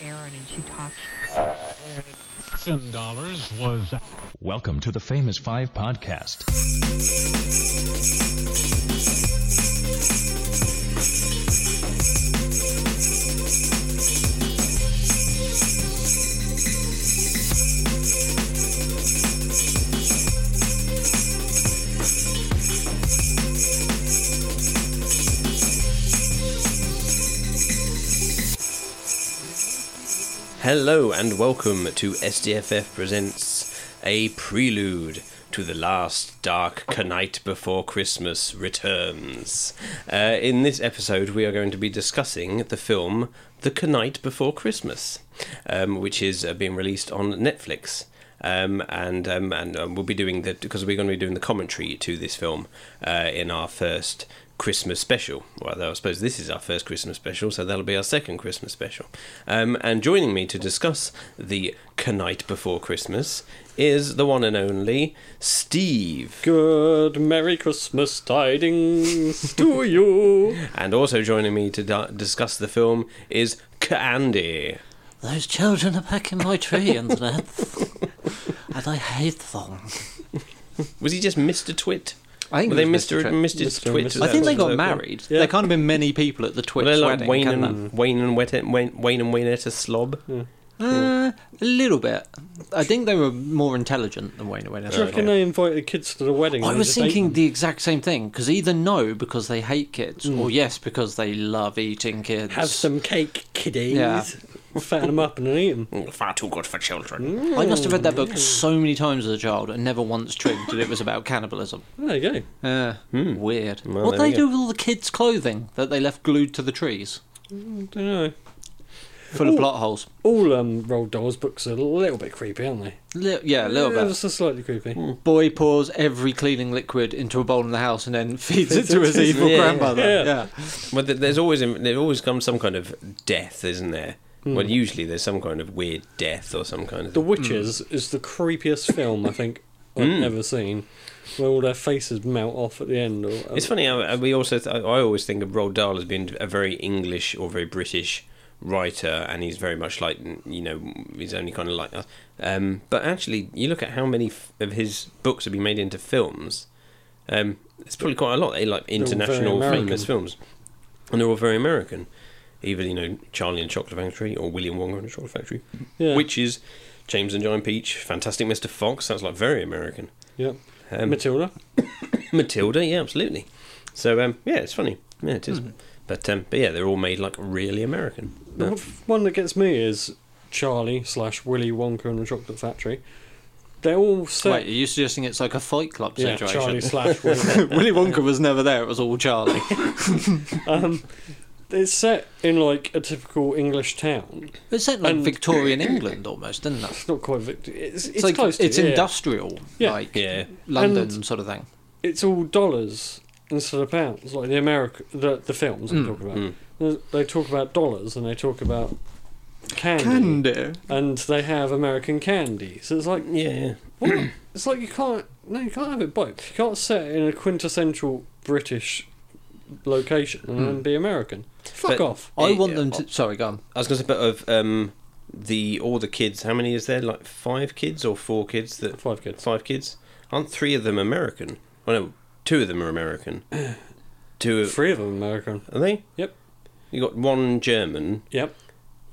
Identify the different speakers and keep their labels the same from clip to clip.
Speaker 1: Karen and she talks.
Speaker 2: Ten dollars was
Speaker 3: Welcome to the Famous Five Podcast.
Speaker 4: Hello and welcome to SDFF presents a prelude to the last dark night before Christmas returns. Uh, in this episode, we are going to be discussing the film The Night Before Christmas, um, which is uh, being released on Netflix. Um, and um, and um, we'll be doing the because we're going to be doing the commentary to this film uh, in our first Christmas special. Well, I suppose this is our first Christmas special, so that'll be our second Christmas special. Um, and joining me to discuss the Night Before Christmas is the one and only Steve.
Speaker 5: Good Merry Christmas tidings to you.
Speaker 4: And also joining me to di- discuss the film is Candy.
Speaker 6: Those children are pecking my tree, underneath. and I hate them.
Speaker 4: Was he just Mr. Twit?
Speaker 6: I think
Speaker 4: Were they
Speaker 6: it was
Speaker 4: Mr.
Speaker 6: Mr.
Speaker 4: Mr.
Speaker 6: Twit.
Speaker 5: Mr.
Speaker 4: Twit?
Speaker 5: and
Speaker 4: Was
Speaker 5: Mrs.
Speaker 6: I
Speaker 4: that
Speaker 6: think they
Speaker 4: what-
Speaker 6: got
Speaker 4: was that-
Speaker 6: married.
Speaker 5: uh, Yeah.
Speaker 6: There can't have been many people at the Twitch
Speaker 4: Were they like
Speaker 6: wedding,
Speaker 4: Wayne
Speaker 6: can
Speaker 4: and, Wayne and Weta, Wayne, Wayne and Waynetta Slob?
Speaker 6: there? Uh, a little bit. I think they were more intelligent than Wayne Wayne.
Speaker 5: Do you reckon they invited kids to the wedding?
Speaker 6: I
Speaker 5: and
Speaker 6: was
Speaker 5: just ate
Speaker 6: thinking
Speaker 5: them?
Speaker 6: the exact same thing, because either no, because they hate kids, or yes, because they love eating kids.
Speaker 5: Hmm. have some cake, kiddies.
Speaker 6: Yeah.
Speaker 5: Fatten them up and then eat them.
Speaker 4: Mm, Far too good for children.
Speaker 6: I must have read that
Speaker 5: Hmm.
Speaker 6: book so many times as a child and never once twigged that it was about cannibalism.
Speaker 5: There you go.
Speaker 6: Uh,
Speaker 5: Hmm.
Speaker 6: Weird.
Speaker 4: Well,
Speaker 6: what do
Speaker 4: there
Speaker 6: they
Speaker 4: you
Speaker 6: do with all the kids' clothing that they left glued to the trees?
Speaker 5: Don't know.
Speaker 6: Full of
Speaker 5: Ooh.
Speaker 6: plot holes.
Speaker 5: All um, Roald Dahl's books are a little bit creepy, aren't they?
Speaker 6: Li- yeah, a little
Speaker 5: yeah,
Speaker 6: bit. Hmm.
Speaker 5: Just slightly creepy.
Speaker 6: boy pours every cleaning liquid into a bowl in the house and then feeds it to his evil
Speaker 4: Yeah.
Speaker 6: grandmother.
Speaker 5: Yeah.
Speaker 6: Yeah.
Speaker 4: Well, th- there's always there always comes some kind of death, isn't there? Well, usually there's some kind of weird death or some kind of.
Speaker 5: The Witches is the creepiest film I think I've ever seen. Where all their faces melt off at the end. Or, uh,
Speaker 4: It's funny. I, I- we also th- I I always think of Roald Dahl as being a very English or very British writer, and he's very much like you know he's only kind of like us. Um, but actually, you look at how many f- of his books have been made into films. Um, it's probably quite a lot. They like
Speaker 5: all very
Speaker 4: international
Speaker 5: American.
Speaker 4: famous films, and they're all very American. Even you know Charlie and the Chocolate Factory or William Wonka and the Chocolate Factory,
Speaker 5: Yeah.
Speaker 4: which is James and Giant Peach, Fantastic Mr. Fox. Sounds like very American.
Speaker 5: Yeah.
Speaker 4: Um,
Speaker 5: Matilda.
Speaker 4: Matilda, yeah, absolutely. So um, yeah, it's funny. Yeah, it
Speaker 5: Hmm.
Speaker 4: is. But um, but yeah, they're all made like really American.
Speaker 5: The
Speaker 4: Uh,
Speaker 5: one- one that gets me is Charlie slash Willy Wonka and the Chocolate Factory. They're all set.
Speaker 6: Wait, are you suggesting it's like a Fight Club
Speaker 5: yeah, Charlie
Speaker 6: situation?
Speaker 5: slash Willy. Wonka.
Speaker 6: Willy Wonka was never there. It was all Charlie.
Speaker 5: um, it's set in like a typical English town.
Speaker 6: It's set like
Speaker 5: And-
Speaker 6: Victorian England almost, isn't it? It's,
Speaker 5: It's not quite. Vict- It's, it's,
Speaker 6: like
Speaker 5: close. To
Speaker 6: it's
Speaker 5: it, yeah.
Speaker 6: industrial,
Speaker 5: Yeah.
Speaker 6: like
Speaker 4: Yeah.
Speaker 6: London
Speaker 5: And-
Speaker 6: sort of thing.
Speaker 5: It's all dollars instead of pounds. Like the America, the, the films I'm talking about. They talk about dollars and they talk about candy, and they have American candy. So it's like
Speaker 4: yeah,
Speaker 5: Well, it's like you can't. No, you can't have it both. You can't set it in a quintessential British location and then be American. Fuck
Speaker 4: But-
Speaker 5: off.
Speaker 6: I
Speaker 4: Yeah,
Speaker 6: want
Speaker 4: yeah.
Speaker 6: them to. Sorry, go on.
Speaker 4: I was going to say, but of um, the all the kids, how many is there? Like five kids or four kids? That
Speaker 5: Five kids.
Speaker 4: five kids? Aren't three of them American? Well, no, two of them are American. Two of,
Speaker 5: Three of them American.
Speaker 4: are they?
Speaker 5: Yep.
Speaker 4: You got one German.
Speaker 5: Yep.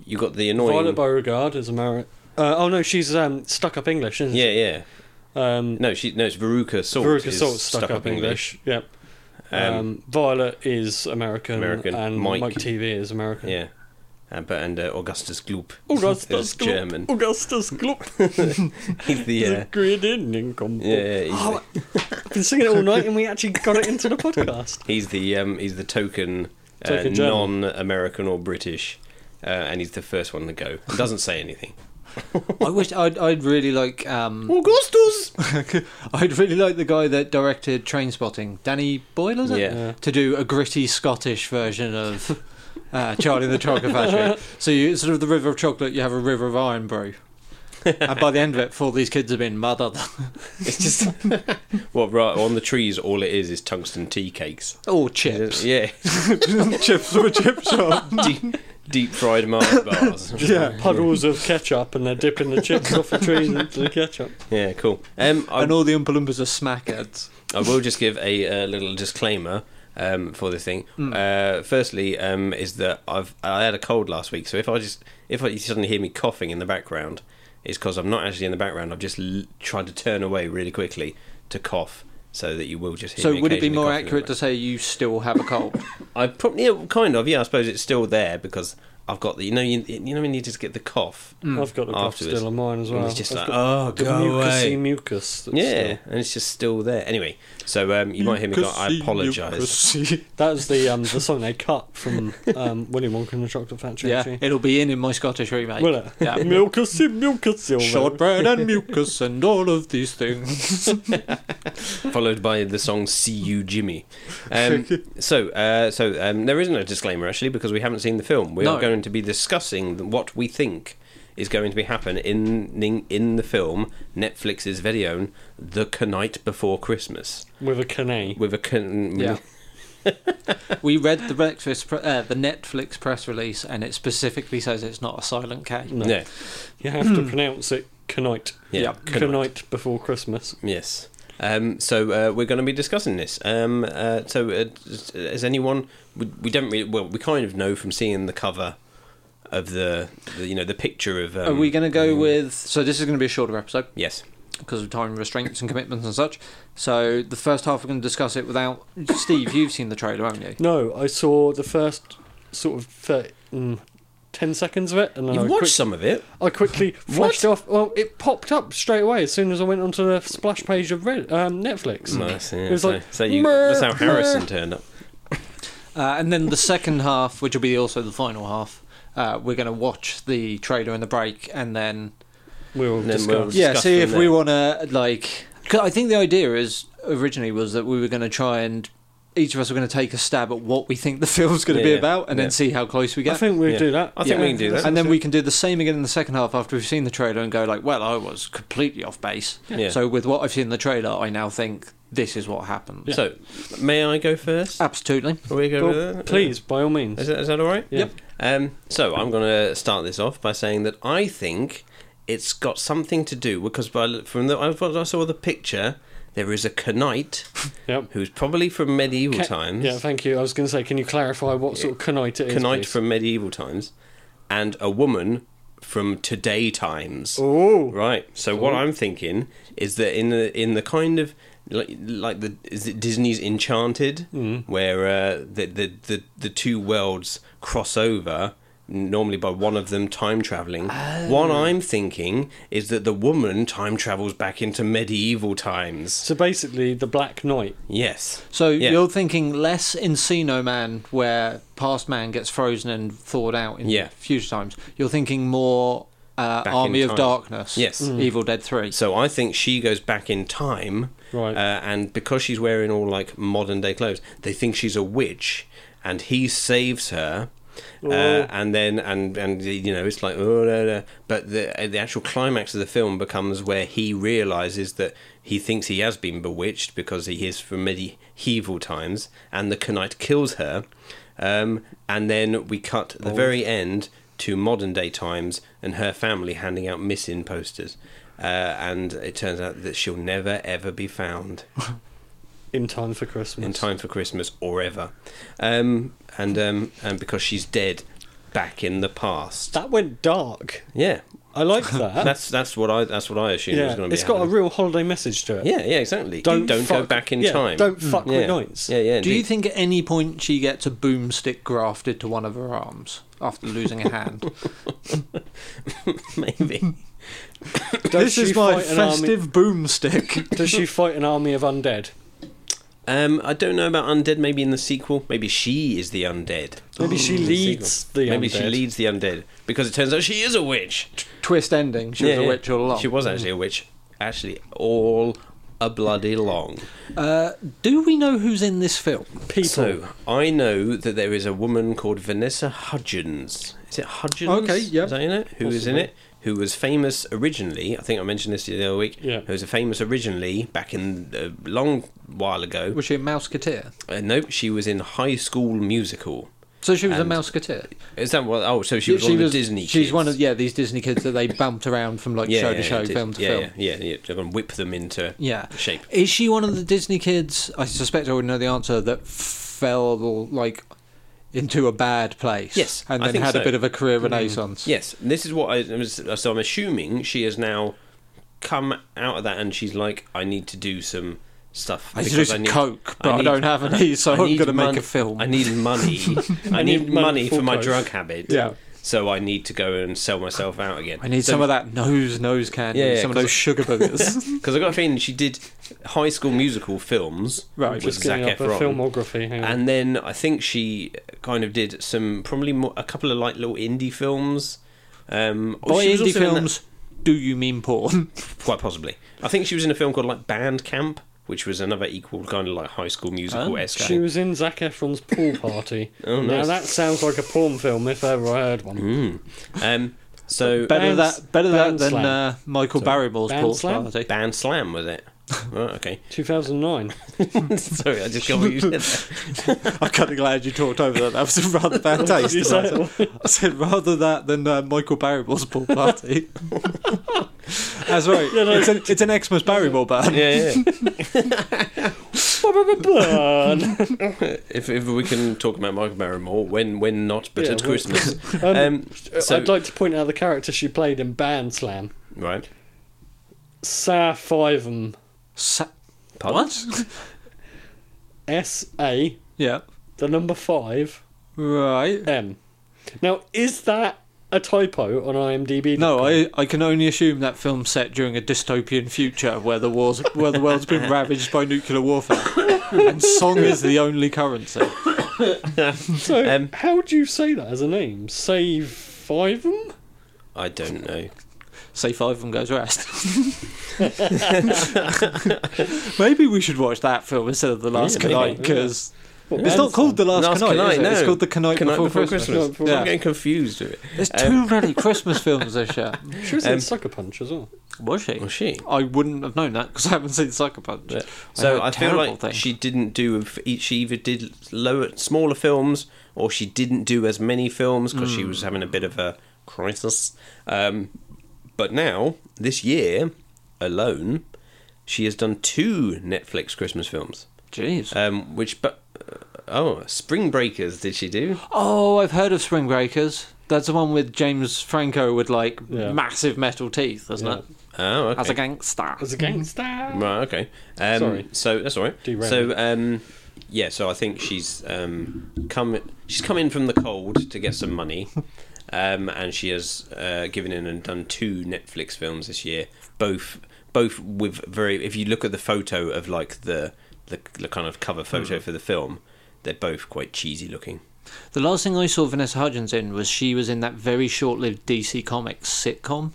Speaker 4: You got the annoying.
Speaker 5: Violet Beauregard is American. Uh, oh no, she's um, stuck up English, isn't
Speaker 4: yeah, yeah.
Speaker 5: she? Um,
Speaker 4: No, she no. It's Veruca Salt.
Speaker 5: Veruca
Speaker 4: is
Speaker 5: Salt's stuck, up English. Yep. Um, Violet is American,
Speaker 4: American.
Speaker 5: and
Speaker 4: Mike-
Speaker 5: Mike. TV is American.
Speaker 4: Yeah. Uh, but and uh, Augustus Gloop
Speaker 5: Augustus
Speaker 4: is
Speaker 5: Gloop.
Speaker 4: German.
Speaker 5: Augustus Gloop.
Speaker 4: He's the uh, yeah, yeah, he's,
Speaker 5: Oh, I've been singing it all night, and we actually got it into the podcast.
Speaker 4: the, he's the um, he's the token, uh,
Speaker 5: Token German.
Speaker 4: non-American or British, uh, and he's the first one to go. He doesn't say anything.
Speaker 6: I wish I'd. I'd really like. Um,
Speaker 4: Augustus.
Speaker 6: I'd really like the guy that directed Train Spotting, Danny Boyle, is it?
Speaker 4: Yeah.
Speaker 5: Yeah.
Speaker 6: To do a gritty Scottish version of uh, Charlie and the Chocolate Factory. So you instead of the river of chocolate, you have a river of iron brew. and by the end of it, four of these kids have been murdered.
Speaker 4: It's just well, right on the trees. All it is is tungsten tea cakes.
Speaker 6: All chips.
Speaker 4: Yeah,
Speaker 6: chips from a chip shop.
Speaker 4: do, you, deep fried Mars bars.
Speaker 6: Yeah.
Speaker 5: Puddles of ketchup, and they're dipping the chips off the trees into the ketchup.
Speaker 4: Yeah, cool. Um, I,
Speaker 6: And all the Oompa Loompas are smackheads.
Speaker 4: I will just give a uh, little disclaimer um, for this thing.
Speaker 6: Hmm.
Speaker 4: Uh, firstly, um, is that I've I had a cold last week, so if I just if I, you suddenly hear me coughing in the background, it's because I'm not actually in the background. I've just l- tried to turn away really quickly to cough, so that you will just hear.
Speaker 6: So
Speaker 4: me
Speaker 6: would it be
Speaker 4: occasionally
Speaker 6: more
Speaker 4: coughing in the
Speaker 6: accurate to say you still have a cold?
Speaker 4: I probably yeah, kind of yeah. I suppose it's still there because I've got the you know you, you know when you just get the cough.
Speaker 5: I've got a cough
Speaker 4: Afterwards.
Speaker 5: still on mine as
Speaker 4: And
Speaker 5: well.
Speaker 4: it's just
Speaker 5: I've
Speaker 4: like,
Speaker 5: got
Speaker 4: "Oh,
Speaker 5: the
Speaker 4: go
Speaker 5: mucusy
Speaker 4: away."
Speaker 5: mucus. that's
Speaker 4: Yeah,
Speaker 5: still-
Speaker 4: and it's just still there. Anyway, so um, you might hear me go. I apologise.
Speaker 5: That was the um, the song they cut from um, William Wonka and the Chocolate Factory.
Speaker 6: yeah,
Speaker 5: actually.
Speaker 6: it'll be in in my Scottish remake.
Speaker 5: Will it?
Speaker 6: Yeah.
Speaker 5: Mucusy, mucusy. all over.
Speaker 6: Shortbread and mucus and all of these things.
Speaker 4: Followed by the song "See You, Jimmy." Um, so, uh, so um, there isn't a disclaimer actually because we haven't seen the film. We are
Speaker 6: No.
Speaker 4: going to be discussing what we think is going to be happen in in, in the film Netflix's very own "The Night Before Christmas"
Speaker 5: With a canay.
Speaker 4: with a con-
Speaker 6: Yeah. we read the breakfast, pre- uh, the Netflix press release, and it specifically says it's not a silent K.
Speaker 5: No.
Speaker 4: yeah,
Speaker 5: You have to pronounce it canite.
Speaker 4: yeah, Canite.
Speaker 5: Canite before Christmas.
Speaker 4: Yes. Um, so uh, we're going to be discussing this. Um, uh, so uh, is anyone? We, we don't really. Well, we kind of know from seeing the cover of the, the you know, the picture of. Um,
Speaker 6: Are we going to go with? So this is going to be a shorter episode
Speaker 4: Yes.
Speaker 6: because of time restraints and commitments and such. So the first half we're going to discuss it without Steve. You've seen the trailer, haven't you?
Speaker 5: No, I saw the first sort of 30, mm, 10 seconds of it, and then
Speaker 4: You
Speaker 5: I,
Speaker 4: watched
Speaker 5: Oh, quick-
Speaker 4: some of it.
Speaker 5: I quickly flashed off. Well, it popped up straight away as soon as I went onto the splash page of Red, um, Netflix.
Speaker 4: Nice. Yeah.
Speaker 5: It was
Speaker 4: so,
Speaker 5: like,
Speaker 4: so you,
Speaker 5: "Mer-
Speaker 4: that's how Harrison
Speaker 5: mer."
Speaker 4: turned up.
Speaker 6: Uh, and then the second half, which will be also the final half, uh, we're going to watch the trailer in the break and then
Speaker 5: We will
Speaker 4: Then
Speaker 5: discuss.
Speaker 4: we'll-
Speaker 6: yeah,
Speaker 4: discuss
Speaker 6: see
Speaker 4: them
Speaker 6: if we
Speaker 4: there.
Speaker 6: want to like. Cause I think the idea is originally was that we were going to try and each of us were going to take a stab at what we think the film's going to
Speaker 4: Yeah,
Speaker 6: be
Speaker 4: yeah,
Speaker 6: about, and
Speaker 4: yeah.
Speaker 6: then see how close we
Speaker 5: I
Speaker 6: get.
Speaker 5: think we'll
Speaker 4: Yeah.
Speaker 5: do that.
Speaker 4: I think
Speaker 5: Yeah.
Speaker 4: we can do that.
Speaker 6: and then we can do the same again in the second half after we've seen the trailer and go like, well, I was completely off base.
Speaker 4: Yeah.
Speaker 6: So with what I've seen in the trailer, I now think this is what happens.
Speaker 4: So may I go first?
Speaker 6: Absolutely.
Speaker 4: Are we going
Speaker 5: Well,
Speaker 4: with that?
Speaker 5: please, by all means.
Speaker 4: Is that, is that all right?
Speaker 5: Yeah. Yep.
Speaker 4: Um, so I'm going to start this off by saying that I think it's got something to do because by, from the I saw the picture, there is a Knight
Speaker 5: Yep.
Speaker 4: who's probably from medieval
Speaker 5: Ca-
Speaker 4: times.
Speaker 5: Yeah, thank you. I was going to say, can you clarify what sort of canite it is?
Speaker 4: Knight
Speaker 5: please?
Speaker 4: from medieval times, and a woman from today times.
Speaker 5: Ooh.
Speaker 4: Right. So what I'm thinking is that in the in the kind of like, like the is it Disney's Enchanted,
Speaker 5: Mm.
Speaker 4: where uh, the, the the the two worlds cross over normally by one of them time traveling.
Speaker 5: Oh.
Speaker 4: What I'm thinking is that the woman time travels back into medieval times.
Speaker 5: So basically, the Black Knight.
Speaker 4: Yes.
Speaker 6: So
Speaker 4: Yeah.
Speaker 6: you're thinking less Encino Man, where past man gets frozen and thawed out in
Speaker 4: Yeah.
Speaker 6: future times. You're thinking more uh,
Speaker 4: in
Speaker 6: Army of
Speaker 4: time.
Speaker 6: Darkness.
Speaker 4: Yes. Mm.
Speaker 6: Evil Dead Three.
Speaker 4: So I think she goes back in time,
Speaker 5: Right.
Speaker 4: Uh, and because she's wearing all like modern day clothes, they think she's a witch, and he saves her. Uh, and then, and and you know, it's like, oh, no, no. but the uh, the actual climax of the film becomes where he realizes that he thinks he has been bewitched because he is from medieval times, and the Knight kills her. Um, and then we cut the very end to modern day times and her family handing out missing posters. Uh, and it turns out that she'll never ever be found
Speaker 5: In time for Christmas.
Speaker 4: in time for Christmas or ever. Um, and um, and because she's dead back in the past.
Speaker 5: That went dark.
Speaker 4: Yeah.
Speaker 5: I like that.
Speaker 4: That's that's what I that's what I assume is
Speaker 5: yeah,
Speaker 4: going to be.
Speaker 5: it's got a
Speaker 4: happening.
Speaker 5: real holiday message to it.
Speaker 4: Yeah, yeah, exactly.
Speaker 5: Don't
Speaker 4: Don't, go
Speaker 5: fuck-
Speaker 4: back in
Speaker 5: yeah,
Speaker 4: time. Mm.
Speaker 5: don't fuck with
Speaker 4: yeah.
Speaker 5: knights.
Speaker 4: Yeah, yeah.
Speaker 6: Do you
Speaker 4: indeed.
Speaker 6: think at any point she gets a boomstick grafted to one of her arms after losing a hand?
Speaker 4: maybe?
Speaker 5: Does she fight an army-
Speaker 6: boomstick.
Speaker 5: Does she fight an army of undead?
Speaker 4: Um, I don't know about undead. Maybe in the sequel, maybe she is the undead.
Speaker 5: Maybe she leads the
Speaker 4: Oh, Maybe
Speaker 5: undead.
Speaker 4: she leads the undead because it turns out she is a witch.
Speaker 6: Twist ending. She was a witch all along.
Speaker 4: She was actually a witch, actually all a bloody long.
Speaker 6: Uh, do we know who's in this film?
Speaker 5: people.
Speaker 4: So I know that there is a woman called Vanessa Hudgens. Is it Hudgens?
Speaker 6: Okay, yeah.
Speaker 4: Is that in it? Who was in
Speaker 5: Possibly.
Speaker 4: it? Who was famous originally? I think I mentioned this the other week.
Speaker 5: Yeah.
Speaker 4: Who was famous originally back in a long while ago?
Speaker 6: Was she a mouseketeer?
Speaker 4: Uh, nope, she was in High School Musical.
Speaker 6: So she was
Speaker 4: And-
Speaker 6: a mouseketeer.
Speaker 4: Is that what? Oh, so she was one of the Disney.
Speaker 6: She's
Speaker 4: kids.
Speaker 6: one of yeah these Disney kids that they bumped around from like
Speaker 4: yeah,
Speaker 6: show
Speaker 4: yeah,
Speaker 6: to show,
Speaker 4: yeah, Dis-
Speaker 6: film to
Speaker 4: yeah,
Speaker 6: film.
Speaker 4: Yeah, yeah, yeah. They're gonna whip them into
Speaker 6: Yeah.
Speaker 4: shape.
Speaker 6: Is she one of the Disney kids? I suspect I would know the answer. That fell like into a bad place.
Speaker 4: Yes,
Speaker 6: and
Speaker 4: I
Speaker 6: then
Speaker 4: think
Speaker 6: had
Speaker 4: so.
Speaker 6: a bit of a career renaissance.
Speaker 4: Yes, and this is what I was. So I'm assuming she has now come out of that, and she's like, I need to do some stuff.
Speaker 6: I need to do
Speaker 4: because
Speaker 6: some coke, but I, don't have any, so
Speaker 4: I
Speaker 6: I am
Speaker 4: need
Speaker 6: going to make
Speaker 4: mon-
Speaker 6: a film.
Speaker 4: I need money. I
Speaker 5: need
Speaker 4: need
Speaker 5: money
Speaker 4: money for
Speaker 5: for
Speaker 4: my
Speaker 5: coke.
Speaker 4: drug habit.
Speaker 6: Yeah.
Speaker 4: So I need to go and sell myself out again.
Speaker 6: I need
Speaker 4: So-
Speaker 6: some of that nose nose candy,
Speaker 4: Yeah, yeah,
Speaker 6: some of
Speaker 4: 'cause-
Speaker 6: those sugar boogers.
Speaker 4: Because I got a feeling she did High School Musical films
Speaker 6: Right,
Speaker 4: with
Speaker 5: Just
Speaker 4: Zac
Speaker 5: getting up a
Speaker 4: Efron,
Speaker 5: filmography. Hang on.
Speaker 4: and then I think she kind of did some probably more, a couple of like little indie films. Um, oh,
Speaker 6: By
Speaker 4: she was
Speaker 6: indie
Speaker 4: also in that-
Speaker 6: films, do you mean porn?
Speaker 4: quite possibly. I think she was in a film called like Band Camp, which was another equal kind of like High School Musical esque.
Speaker 6: Oh,
Speaker 5: She was in Zac Efron's pool party.
Speaker 4: Oh,
Speaker 5: Now
Speaker 4: nice. Mm-hmm.
Speaker 5: that sounds like a porn film if ever I heard one.
Speaker 4: um, so
Speaker 6: better
Speaker 5: Bands-
Speaker 6: that, better that
Speaker 5: band
Speaker 6: than
Speaker 5: slam.
Speaker 6: uh, Michael Barrymore's
Speaker 5: band
Speaker 6: porn
Speaker 5: slam?
Speaker 6: party.
Speaker 4: Band Slam was it? Right, okay.
Speaker 5: 2009.
Speaker 4: Sorry, I just got what you said. there.
Speaker 6: I'm kind of glad you talked over that. That was a rather bad taste.
Speaker 5: you
Speaker 6: isn't
Speaker 5: say?
Speaker 6: it? I said rather that than uh, Michael Barrymore's pool party. That's right. it's, an, it's an Xmas Barrymore band.
Speaker 4: Yeah, yeah.
Speaker 5: Burn.
Speaker 4: if, if we can talk about Michael Barrymore, when when not, but
Speaker 5: Yeah,
Speaker 4: at
Speaker 5: well-
Speaker 4: Christmas.
Speaker 5: Um,
Speaker 4: Um, so-
Speaker 5: I'd like to point out the character she played in Band Slam.
Speaker 4: right.
Speaker 5: Sa Fivem.
Speaker 6: Sa-
Speaker 4: Pardon?
Speaker 6: What?
Speaker 5: S A,
Speaker 6: yeah.
Speaker 5: the number five,
Speaker 6: Right.
Speaker 5: M. Now, is that a typo on IMDb?
Speaker 6: No, I, I can only assume that film set during a dystopian future where the wars where the world's been ravaged by nuclear warfare, and song is the only currency.
Speaker 5: So,
Speaker 4: Um,
Speaker 5: how do you say that as a name? Save Fivem?
Speaker 4: I don't know.
Speaker 6: Say five of them goes rest. maybe we should watch that film instead of the Last
Speaker 4: Yeah, maybe.
Speaker 6: Knight because
Speaker 5: What,
Speaker 6: it's
Speaker 5: Band
Speaker 6: not called the Last,
Speaker 4: Last
Speaker 6: Knight. is
Speaker 4: Knight,
Speaker 6: it? It's
Speaker 4: no.
Speaker 6: called the Knight,
Speaker 4: Knight
Speaker 6: Before, Christmas.
Speaker 5: Christmas.
Speaker 4: No, I'm
Speaker 6: Yeah.
Speaker 4: getting confused with it.
Speaker 6: There's too many Christmas films this year.
Speaker 5: Slam? She was in
Speaker 4: um,
Speaker 5: Sucker Punch as well.
Speaker 6: Was she?
Speaker 4: Was she?
Speaker 6: I wouldn't have known that because I haven't seen Sucker Punch.
Speaker 4: So
Speaker 6: know,
Speaker 4: I, feel
Speaker 6: terrible
Speaker 4: like
Speaker 6: thing.
Speaker 4: she didn't do. e, She either did lower, smaller films, or she didn't do as many films because she
Speaker 6: Hmm.
Speaker 4: was having a bit of a crisis. Um, but now, this year alone, she has done two Netflix Christmas films.
Speaker 6: Jeez.
Speaker 4: Um, which, but oh, Spring Breakers did she do?
Speaker 6: Oh, I've heard of Spring Breakers. That's the one with James Franco with like
Speaker 5: Yeah.
Speaker 6: massive metal teeth, isn't
Speaker 5: Yeah.
Speaker 6: it?
Speaker 4: Oh, okay.
Speaker 6: As a gangster.
Speaker 5: As a gangster.
Speaker 4: Right, okay. Um,
Speaker 5: Sorry.
Speaker 4: So that's all right.
Speaker 5: Derailed.
Speaker 4: So um, yeah, so I think she's um, come. She's come in from the cold to get some money, um, and she has uh, given in and done two Netflix films this year, both both with very. If you look at the photo of like the the, the kind of cover photo
Speaker 5: Hmm.
Speaker 4: for the film, they're both quite cheesy looking.
Speaker 6: The last thing I saw Vanessa Hudgens in was she was in that very short lived DC Comics sitcom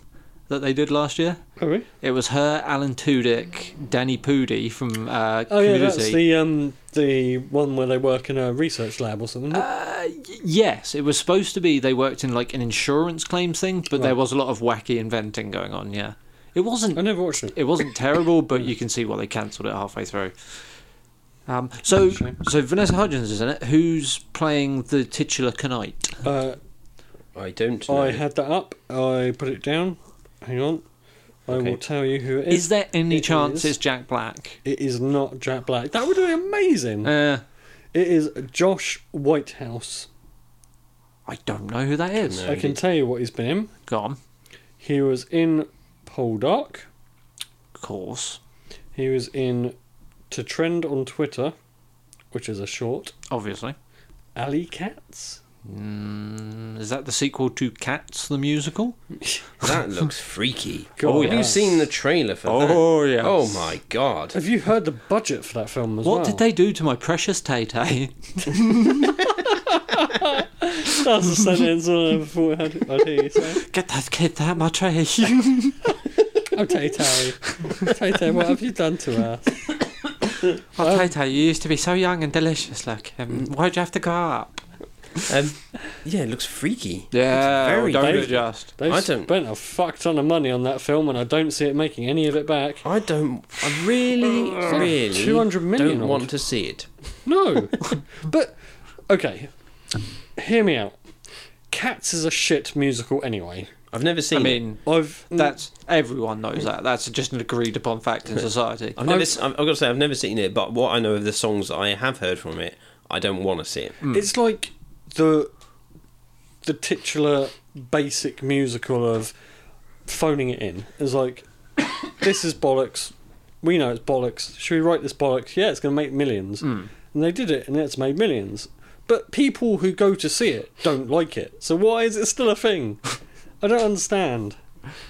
Speaker 6: that they did last year.
Speaker 5: Oh, really?
Speaker 6: It was her, Alan Tudyk, Danny Pudi from uh,
Speaker 5: Oh, yeah,
Speaker 6: Community.
Speaker 5: that's the, um, the one where they work in a research lab or something.
Speaker 6: Yes, it was supposed to be they worked in like an insurance claims thing, but there
Speaker 5: Right.
Speaker 6: was a lot of wacky inventing going on, yeah. It wasn't
Speaker 5: I never watched it.
Speaker 6: it wasn't terrible, but you can see why they cancelled it halfway through. Um, so, so Vanessa Hudgens is in it. Who's playing the titular Knight?
Speaker 5: Uh,
Speaker 4: I don't. Know.
Speaker 5: I had that up. I put it down. Hang on. I
Speaker 4: Okay.
Speaker 5: will tell you who it is.
Speaker 6: Is there any
Speaker 5: it
Speaker 6: chance
Speaker 5: is.
Speaker 6: it's Jack Black?
Speaker 5: It is not Jack Black. That would be amazing.
Speaker 6: Uh,
Speaker 5: It is Josh Whitehouse.
Speaker 6: I don't know who that is.
Speaker 4: No.
Speaker 5: I can tell you what he's been in.
Speaker 6: Go on.
Speaker 5: He was in Poldark.
Speaker 6: Of course.
Speaker 5: He was in To Trend on Twitter, which is a short.
Speaker 6: Obviously.
Speaker 5: Alley Cats.
Speaker 6: Mm, is that the sequel to Cats the Musical?
Speaker 4: That looks freaky. Oh,
Speaker 5: God,
Speaker 4: have you
Speaker 5: yes.
Speaker 4: seen the trailer for that?
Speaker 6: Oh, yes.
Speaker 4: Oh my god.
Speaker 5: Have you heard the budget for that film as
Speaker 6: What
Speaker 5: well?
Speaker 6: did they do to my precious Tay Tay?
Speaker 5: That's a sentence I before I had I'd hear you say.
Speaker 6: Get that kid out my tray.
Speaker 5: Oh, Tay Tay. Tay Tay, what have you done to her?
Speaker 6: oh, Tay Tay, you used to be so young and delicious looking. Why'd you have to go up?
Speaker 4: Um, yeah, it looks freaky.
Speaker 6: Yeah,
Speaker 4: very
Speaker 6: don't
Speaker 5: vague.
Speaker 6: adjust.
Speaker 5: They've
Speaker 4: I don't-
Speaker 5: spent a fuck ton of money on that film, and I don't see it making any of it back.
Speaker 4: I don't. I really, really
Speaker 5: 200 million
Speaker 4: don't
Speaker 5: odd.
Speaker 4: want to see it.
Speaker 5: No, but okay. hear me out. Cats is a shit musical anyway.
Speaker 4: I've never seen.
Speaker 6: I mean,
Speaker 5: I've
Speaker 6: that's everyone knows that. That's just an agreed upon fact in society.
Speaker 4: it. I've never. I've, I've got to say, I've never seen it. But what I know of the songs I have heard from it, I don't want to see it.
Speaker 5: It's like the the titular basic musical of phoning it in. It's like this is bollocks. We know it's bollocks. Should we write this bollocks? Yeah, it's going to make millions.
Speaker 4: Hmm.
Speaker 5: And they did it, and it's made millions. But people who go to see it don't like it. So why is it still a thing? I don't understand.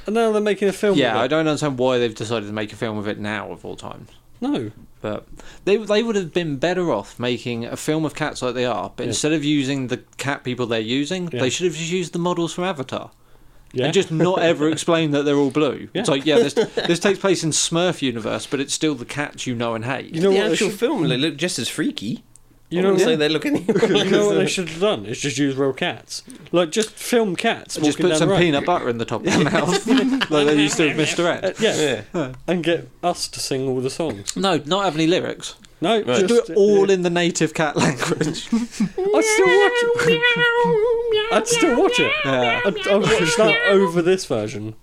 Speaker 5: And now they're making a film.
Speaker 6: Yeah,
Speaker 5: of it.
Speaker 6: I don't understand why they've decided to make a film of it now of all times.
Speaker 5: No,
Speaker 6: But they they would have been better off making a film of cats like they are. But
Speaker 5: Yeah.
Speaker 6: instead of using the cat people they're using,
Speaker 5: Yeah.
Speaker 6: they should have just used the models from Avatar
Speaker 5: yeah,
Speaker 6: and just not ever explain that they're all blue.
Speaker 5: Yeah.
Speaker 6: It's like yeah, this this takes place in Smurf universe, but it's still the cats you know and hate.
Speaker 5: you know
Speaker 4: the
Speaker 5: what? They
Speaker 4: actual
Speaker 5: should,
Speaker 4: film they look just as freaky.
Speaker 5: you
Speaker 4: I
Speaker 5: know,
Speaker 4: wouldn't say
Speaker 5: what-
Speaker 4: they look any.
Speaker 5: you know what they should have done? Is just use real cats. Like just film cats.
Speaker 6: just
Speaker 5: walking
Speaker 6: put
Speaker 5: down
Speaker 6: some
Speaker 5: the road.
Speaker 6: peanut butter in the top of their mouth, like they used to with Mr.
Speaker 5: Uh,
Speaker 6: Ed.
Speaker 5: yeah,
Speaker 4: Yeah.
Speaker 5: and get us to sing all the songs.
Speaker 6: No, not have any lyrics.
Speaker 5: No,
Speaker 4: Right.
Speaker 6: Do it all in the native cat language.
Speaker 5: I still watch it. I'd still watch it.
Speaker 6: Yeah.
Speaker 5: I'd, I'd watch that over this version.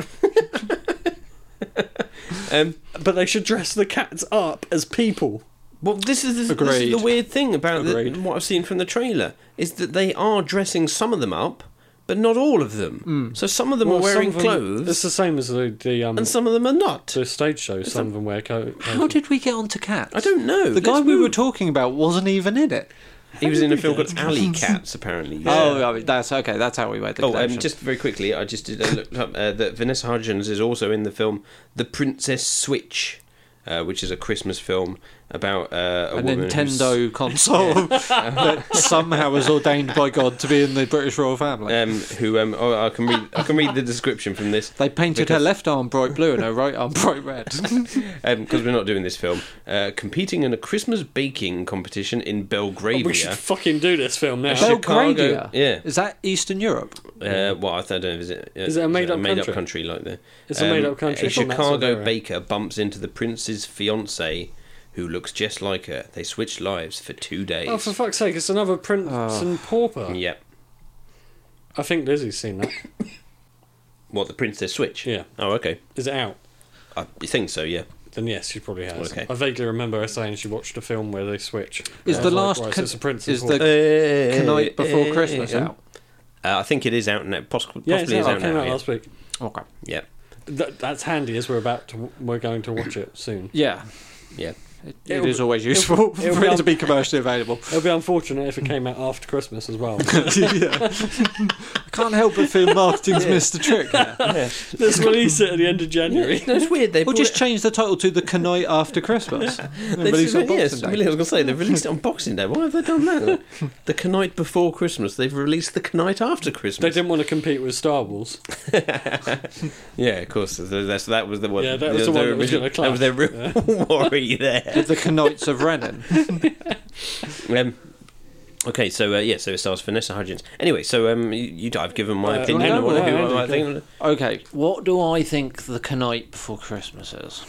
Speaker 4: Um,
Speaker 5: But they should dress the cats up as people.
Speaker 4: Well, this is, this, this is
Speaker 6: Agreed.
Speaker 4: the weird thing about the,
Speaker 6: Agreed.
Speaker 4: what I've seen from the trailer is that they are dressing some of them up, but not all of them. So some of them are
Speaker 5: Well, some
Speaker 4: wearing
Speaker 5: of them- It's
Speaker 4: clothes,
Speaker 5: the same as the the, um,
Speaker 4: and some of them are not.
Speaker 5: the stage show. Some of them wear coat.
Speaker 6: How did we get onto cats?
Speaker 4: I don't know.
Speaker 6: The guy
Speaker 4: Let's
Speaker 6: we were
Speaker 4: move.
Speaker 6: talking about wasn't even in it.
Speaker 4: he was in a
Speaker 5: we
Speaker 4: film
Speaker 5: get
Speaker 4: called Alley Cats, apparently.
Speaker 6: Oh, I mean, that's okay. That's how we made the
Speaker 4: Oh, um,
Speaker 6: connection.
Speaker 4: just very quickly, I just did, I looked up uh, that Vanessa Hudgens is also in the film The Princess Switch, uh, which is a Christmas film about uh, a
Speaker 6: a
Speaker 4: woman who's-
Speaker 6: Nintendo console that somehow was ordained by God to be in the British royal family.
Speaker 4: Um, who um, oh, I can read. I can read the description from this.
Speaker 6: They painted her left arm bright blue and her right arm bright red.
Speaker 4: because um, we're not doing this film, uh, competing in a Christmas baking competition in Belgravia.
Speaker 5: Oh, We should fucking do this film now.
Speaker 4: Should-
Speaker 6: Belgravia.
Speaker 4: yeah.
Speaker 6: Is that Eastern Europe?
Speaker 4: uh, well, I don't know. Is it, uh,
Speaker 5: Is it a made-up
Speaker 4: made-up
Speaker 5: country?
Speaker 4: like the? um,
Speaker 5: It's a made-up country
Speaker 4: A
Speaker 5: from that sort of
Speaker 4: Chicago
Speaker 5: era.
Speaker 4: baker bumps into the prince's fiance, who looks just like her. They switch lives for two days.
Speaker 5: Oh, for fuck's sake! It's another Prince
Speaker 6: Ah.
Speaker 5: and Pauper.
Speaker 4: Yep.
Speaker 5: I think Lizzie's seen that.
Speaker 4: What the princess switch?
Speaker 5: Yeah.
Speaker 4: Oh, okay.
Speaker 5: Is it out?
Speaker 4: I think so. Yeah.
Speaker 5: Then yes, she probably has.
Speaker 4: Okay.
Speaker 5: I vaguely remember her saying she watched a film where they switch.
Speaker 6: Is
Speaker 5: I
Speaker 6: the
Speaker 5: was like,
Speaker 6: last
Speaker 5: right, so
Speaker 6: con-
Speaker 5: it's a Prince
Speaker 6: is
Speaker 5: and Pauper.
Speaker 6: the Night before Christmas out?
Speaker 4: Eh, Uh, I think it is out now. Possibly,
Speaker 5: yeah, it's
Speaker 4: possibly is
Speaker 5: out.
Speaker 4: out
Speaker 5: It came
Speaker 4: now.
Speaker 5: out
Speaker 4: yeah.
Speaker 5: last week.
Speaker 6: Okay.
Speaker 4: yeah.
Speaker 5: That, that's handy as we're about to we're going to watch it soon.
Speaker 6: Yeah.
Speaker 4: Yeah.
Speaker 6: It, it
Speaker 5: It'll
Speaker 6: is
Speaker 5: be-
Speaker 6: always
Speaker 5: it'll-
Speaker 6: useful
Speaker 5: it'll
Speaker 6: for
Speaker 5: be
Speaker 6: it to
Speaker 5: on-
Speaker 6: be commercially available.
Speaker 5: It'll be unfortunate if it came out after Christmas as well.
Speaker 6: yeah. I can't help but feel marketing's missed a trick there.
Speaker 5: Let's release it at the end of January.
Speaker 4: No, it's weird. They
Speaker 6: Or
Speaker 4: brought
Speaker 6: just
Speaker 4: it-
Speaker 6: change the title to The Knight After Christmas.
Speaker 4: They
Speaker 6: Release
Speaker 4: should-
Speaker 6: on Boxing
Speaker 4: yes,
Speaker 6: Day.
Speaker 4: really, I was going to say, they've released it on Boxing Day. Why have they done that? the night before Christmas. They've released the night after
Speaker 5: They
Speaker 4: Christmas.
Speaker 5: didn't want to compete with Star Wars.
Speaker 4: Yeah, of course. th- That's, that was the one.
Speaker 5: Yeah, that was the one that was
Speaker 4: original-
Speaker 5: gonna
Speaker 4: That was their real worry there.
Speaker 6: The Knights of Renin.
Speaker 4: Um, okay, so uh, yeah, so it stars Vanessa Hudgens. Anyway, so um, you, you, I've given my
Speaker 5: Uh,
Speaker 4: opinion
Speaker 6: no,
Speaker 4: on what,
Speaker 6: no,
Speaker 4: who
Speaker 5: no,
Speaker 4: I think.
Speaker 6: Okay, what do I think the Knight Before Christmas is?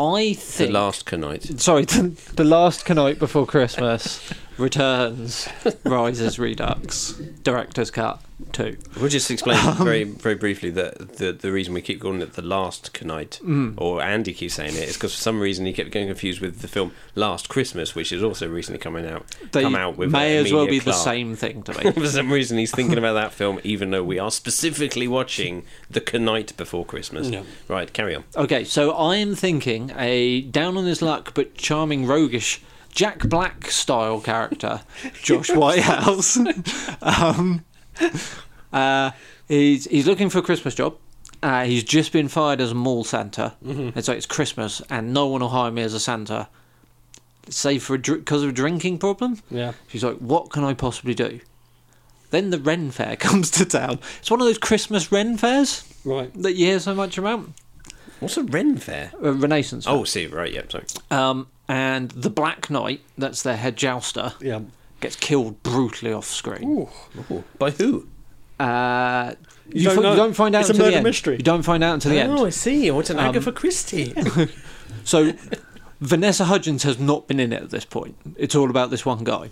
Speaker 6: I
Speaker 4: The
Speaker 6: think.
Speaker 4: last Knight.
Speaker 6: Sorry, the, the last Knight Before Christmas returns, rises, redux, director's cut two.
Speaker 4: We'll just explain very, very briefly that the, the reason we keep calling it the last Knight, or Andy keeps saying it, is because for some reason he kept getting confused with the film Last Christmas, which is also recently coming out.
Speaker 6: They
Speaker 4: come out with
Speaker 6: may
Speaker 4: uh,
Speaker 6: as well
Speaker 4: Emilia
Speaker 6: be the
Speaker 4: Clarke.
Speaker 6: same thing to me.
Speaker 4: For some reason, he's thinking about that film, even though we are specifically watching The Night Before Christmas.
Speaker 5: Yeah.
Speaker 4: Right, carry on.
Speaker 6: Okay, so I'm thinking a down on his luck but charming roguish Jack Black style character, Josh Whitehouse. um, uh, he's he's looking for a Christmas job. Uh, he's just been fired as a mall Santa. And so it's Christmas, and no one will hire me as a Santa, save for because of a drinking problem.
Speaker 5: Yeah.
Speaker 6: She's like, "What can I possibly do?" Then the Ren Fair comes to town. It's one of those Christmas Ren Fairs
Speaker 5: Right.
Speaker 6: that you hear so much about.
Speaker 4: What's a Ren Fair?
Speaker 6: A Renaissance.
Speaker 4: Oh, see, right, yeah, sorry.
Speaker 6: Um, and the Black Knight, that's their head jouster,
Speaker 5: Yeah.
Speaker 6: gets killed brutally off screen.
Speaker 5: Ooh.
Speaker 4: Ooh, by who?
Speaker 6: Uh, you,
Speaker 5: don't
Speaker 6: fi-
Speaker 5: know.
Speaker 6: you don't find out
Speaker 5: It's a
Speaker 6: until
Speaker 5: murder
Speaker 6: the end.
Speaker 5: mystery.
Speaker 6: You don't find out until the
Speaker 4: Oh, I
Speaker 6: end.
Speaker 4: see. What's an Agatha Christie?
Speaker 6: So Vanessa Hudgens has not been in it at this point. It's all about this one guy.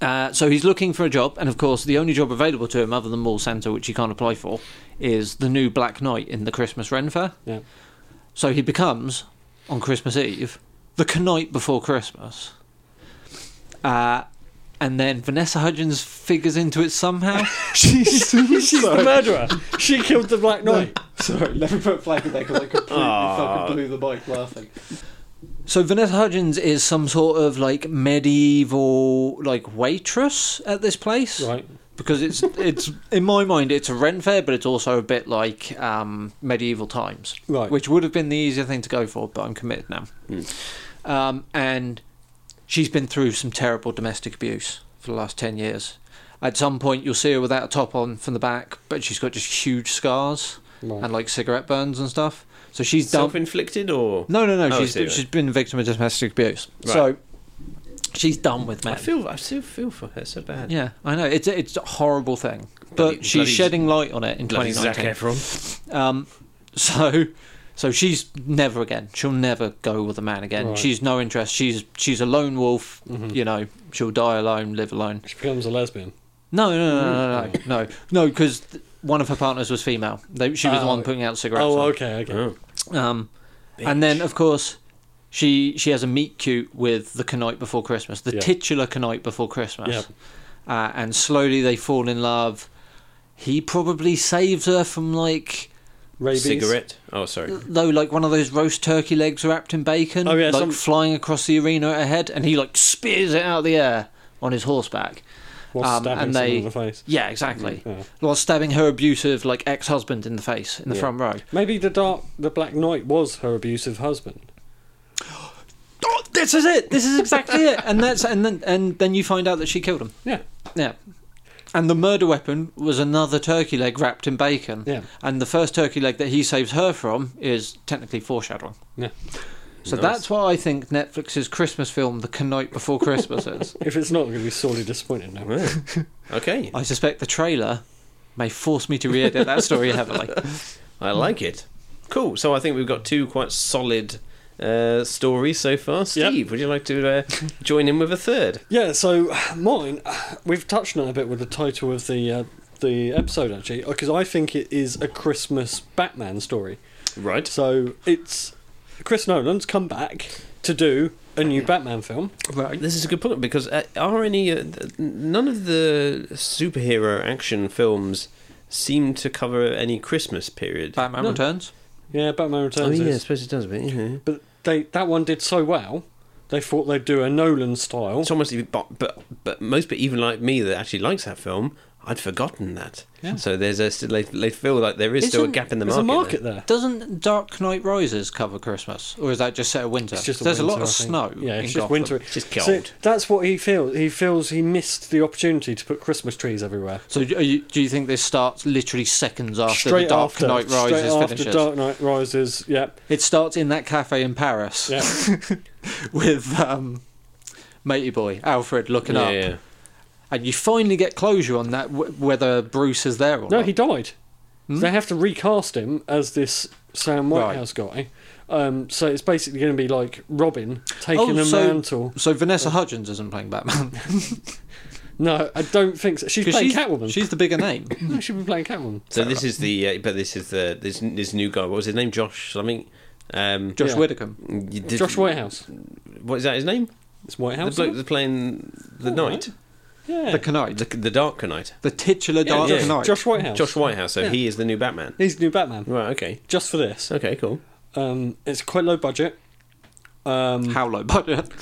Speaker 6: Uh, so he's looking for a job, and of course, the only job available to him, other than mall Santa, which he can't apply for, is the new Black Knight in the Christmas Ren Fair.
Speaker 5: Yeah.
Speaker 6: So he becomes, on Christmas Eve, the night before Christmas. Uh, and then Vanessa Hudgens figures into it somehow.
Speaker 1: She's,
Speaker 5: She's the murderer. She killed the Black Knight.
Speaker 1: Sorry, let me put a flag in there because I completely
Speaker 4: Aw.
Speaker 1: fucking blew the mic laughing.
Speaker 6: So Vanessa Hudgens is some sort of like medieval like waitress at this place.
Speaker 5: Right.
Speaker 6: because it's it's in my mind it's a rent fair, but it's also a bit like um, medieval times,
Speaker 5: Right. Hmm.
Speaker 6: Which would have been the easier thing to go for, but I'm committed now. Um, and she's been through some terrible domestic abuse for the last ten years. At some point, you'll see her without a top on from the back, but she's got just huge scars
Speaker 5: Right.
Speaker 6: and like cigarette burns and stuff. So she's dumped.
Speaker 4: Self-inflicted or
Speaker 6: No, no, no.
Speaker 4: Oh, I
Speaker 6: she's
Speaker 4: see, right.
Speaker 6: she's been a victim of domestic abuse.
Speaker 4: Right.
Speaker 6: So she's done with men.
Speaker 4: I feel I still feel for her so bad.
Speaker 6: Yeah, I know it's a, it's a horrible thing, but
Speaker 4: Bloody-
Speaker 6: she's
Speaker 4: bloody-
Speaker 6: shedding light on it in
Speaker 4: Bloody Zac
Speaker 6: 2019.
Speaker 4: Efron.
Speaker 6: Um, so, so she's never again. She'll never go with a man again.
Speaker 5: Right. Mm-hmm.
Speaker 6: She's no interest. She's she's a lone wolf. You know, she'll die alone, live alone.
Speaker 5: She becomes a lesbian.
Speaker 6: No, no, no, no, no, no, no, because one of her partners was female. They, she was the
Speaker 5: Oh.
Speaker 6: one putting out cigarettes.
Speaker 5: Oh,
Speaker 6: on.
Speaker 5: okay, okay.
Speaker 4: Oh,
Speaker 6: Um, and then, of course, she she has a meet cute with the Knight Before Christmas, the
Speaker 5: Yeah.
Speaker 6: titular Knight Before Christmas.
Speaker 5: Yeah.
Speaker 6: Uh, and slowly they fall in love. He probably saves her from like
Speaker 5: Rabies.
Speaker 4: cigarette. Oh, sorry.
Speaker 6: though like one of those roast turkey legs wrapped in bacon,
Speaker 5: Oh, yeah,
Speaker 6: like
Speaker 5: some-
Speaker 6: flying across the arena at her head, and he like spears it out of the air on his horseback.
Speaker 5: While
Speaker 6: Um,
Speaker 5: stabbing
Speaker 6: and
Speaker 5: someone
Speaker 6: they-
Speaker 5: in the face.
Speaker 6: Yeah, exactly.
Speaker 5: Yeah.
Speaker 6: While stabbing her abusive like ex-husband in the face in the front row.
Speaker 5: Maybe the dark, the Black Knight was her abusive husband.
Speaker 6: Oh, this is it. This is exactly it. And that's and then and then you find out that she killed him.
Speaker 5: Yeah.
Speaker 6: Yeah. And the murder weapon was another turkey leg wrapped in bacon.
Speaker 5: Yeah.
Speaker 6: And the first turkey leg that he saves her from is technically foreshadowing.
Speaker 5: Yeah.
Speaker 6: So that's why I think Netflix's Christmas film, The Night Before Christmas, is.
Speaker 5: If it's not, I'm going to be sorely disappointed now.
Speaker 4: Okay,
Speaker 6: I suspect the trailer may force me to re edit that story heavily.
Speaker 4: I like it. Cool. So I think we've got two quite solid uh, stories so far. Steve, would you like to uh, join in with a third?
Speaker 5: Yeah, so mine, we've touched on it a bit with the title of the uh, the episode actually, because I think it is a Christmas Batman story.
Speaker 4: Right.
Speaker 5: So it's Chris Nolan's come back to do a new Batman film.
Speaker 6: Right.
Speaker 4: This is a good point because uh, are any uh, th- none of the superhero action films seem to cover any Christmas period.
Speaker 6: Batman
Speaker 5: No.
Speaker 6: Returns.
Speaker 5: Yeah, Batman
Speaker 4: oh
Speaker 5: Returns.
Speaker 4: yeah, I
Speaker 5: is,
Speaker 4: suppose it does, but yeah.
Speaker 5: but they that one did so well, they thought they'd do a Nolan style.
Speaker 4: It's almost even, but, but but most but even like me that actually likes that film, I'd forgotten that.
Speaker 5: Yeah.
Speaker 4: So there's a still they, they feel like there is still a
Speaker 6: Isn't-
Speaker 4: gap in the
Speaker 5: There's
Speaker 4: market.
Speaker 5: a market
Speaker 4: there.
Speaker 5: there.
Speaker 6: Doesn't Dark Knight Rises cover Christmas? Or is that just set of winter?
Speaker 5: It's just
Speaker 6: There's a lot
Speaker 5: winter,
Speaker 6: of
Speaker 5: I think.
Speaker 6: snow.
Speaker 5: Yeah,
Speaker 6: in
Speaker 5: it's just
Speaker 6: Gotham.
Speaker 5: winter.
Speaker 4: It's just
Speaker 5: So
Speaker 4: cold.
Speaker 5: that's what he feels. He feels he missed the opportunity to put Christmas trees everywhere.
Speaker 6: So do you, do you think this starts literally seconds after
Speaker 5: straight
Speaker 6: the Dark
Speaker 5: after,
Speaker 6: Knight Rises
Speaker 5: straight after
Speaker 6: finishes?
Speaker 5: Dark Knight Rises. Yep,
Speaker 6: It starts in that cafe in Paris
Speaker 5: yep.
Speaker 6: with um, Matey Boy Alfred looking
Speaker 4: Yeah,
Speaker 6: up,
Speaker 4: yeah.
Speaker 6: and you finally get closure on that w- whether Bruce is there or
Speaker 5: no,
Speaker 6: not.
Speaker 5: he died. They have to recast him as this Sam
Speaker 6: Hmm? Right.
Speaker 5: Whitehouse guy. Um, so it's basically going to be like Robin taking
Speaker 6: Oh,
Speaker 5: a
Speaker 6: so-
Speaker 5: mantle.
Speaker 6: So Vanessa Hudgens isn't playing Batman
Speaker 5: No, I don't think so. She's
Speaker 6: 'Cause
Speaker 5: playing
Speaker 6: she's,
Speaker 5: Catwoman.
Speaker 6: She's the bigger name.
Speaker 5: no, she's been playing Catwoman.
Speaker 4: So this is the uh, but this is the this this new guy. What was his name? Josh something. Um,
Speaker 6: Josh
Speaker 5: Yeah.
Speaker 6: Widdicombe.
Speaker 4: you did-
Speaker 5: Josh Whitehouse.
Speaker 4: What is that? His name?
Speaker 5: It's Whitehouse.
Speaker 4: the bloke that's playing the
Speaker 5: All
Speaker 4: knight,
Speaker 5: yeah.
Speaker 6: The Knight,
Speaker 4: the, the Dark Knight.
Speaker 6: the titular Dark
Speaker 4: yeah.
Speaker 6: Knight.
Speaker 5: Josh Whitehouse.
Speaker 4: Josh Whitehouse. So
Speaker 5: Yeah.
Speaker 4: he is the new Batman.
Speaker 5: He's the new Batman.
Speaker 4: Right. Okay.
Speaker 5: Just for this.
Speaker 4: Okay. Cool.
Speaker 5: Um, it's quite low budget. Um,
Speaker 6: How low budget?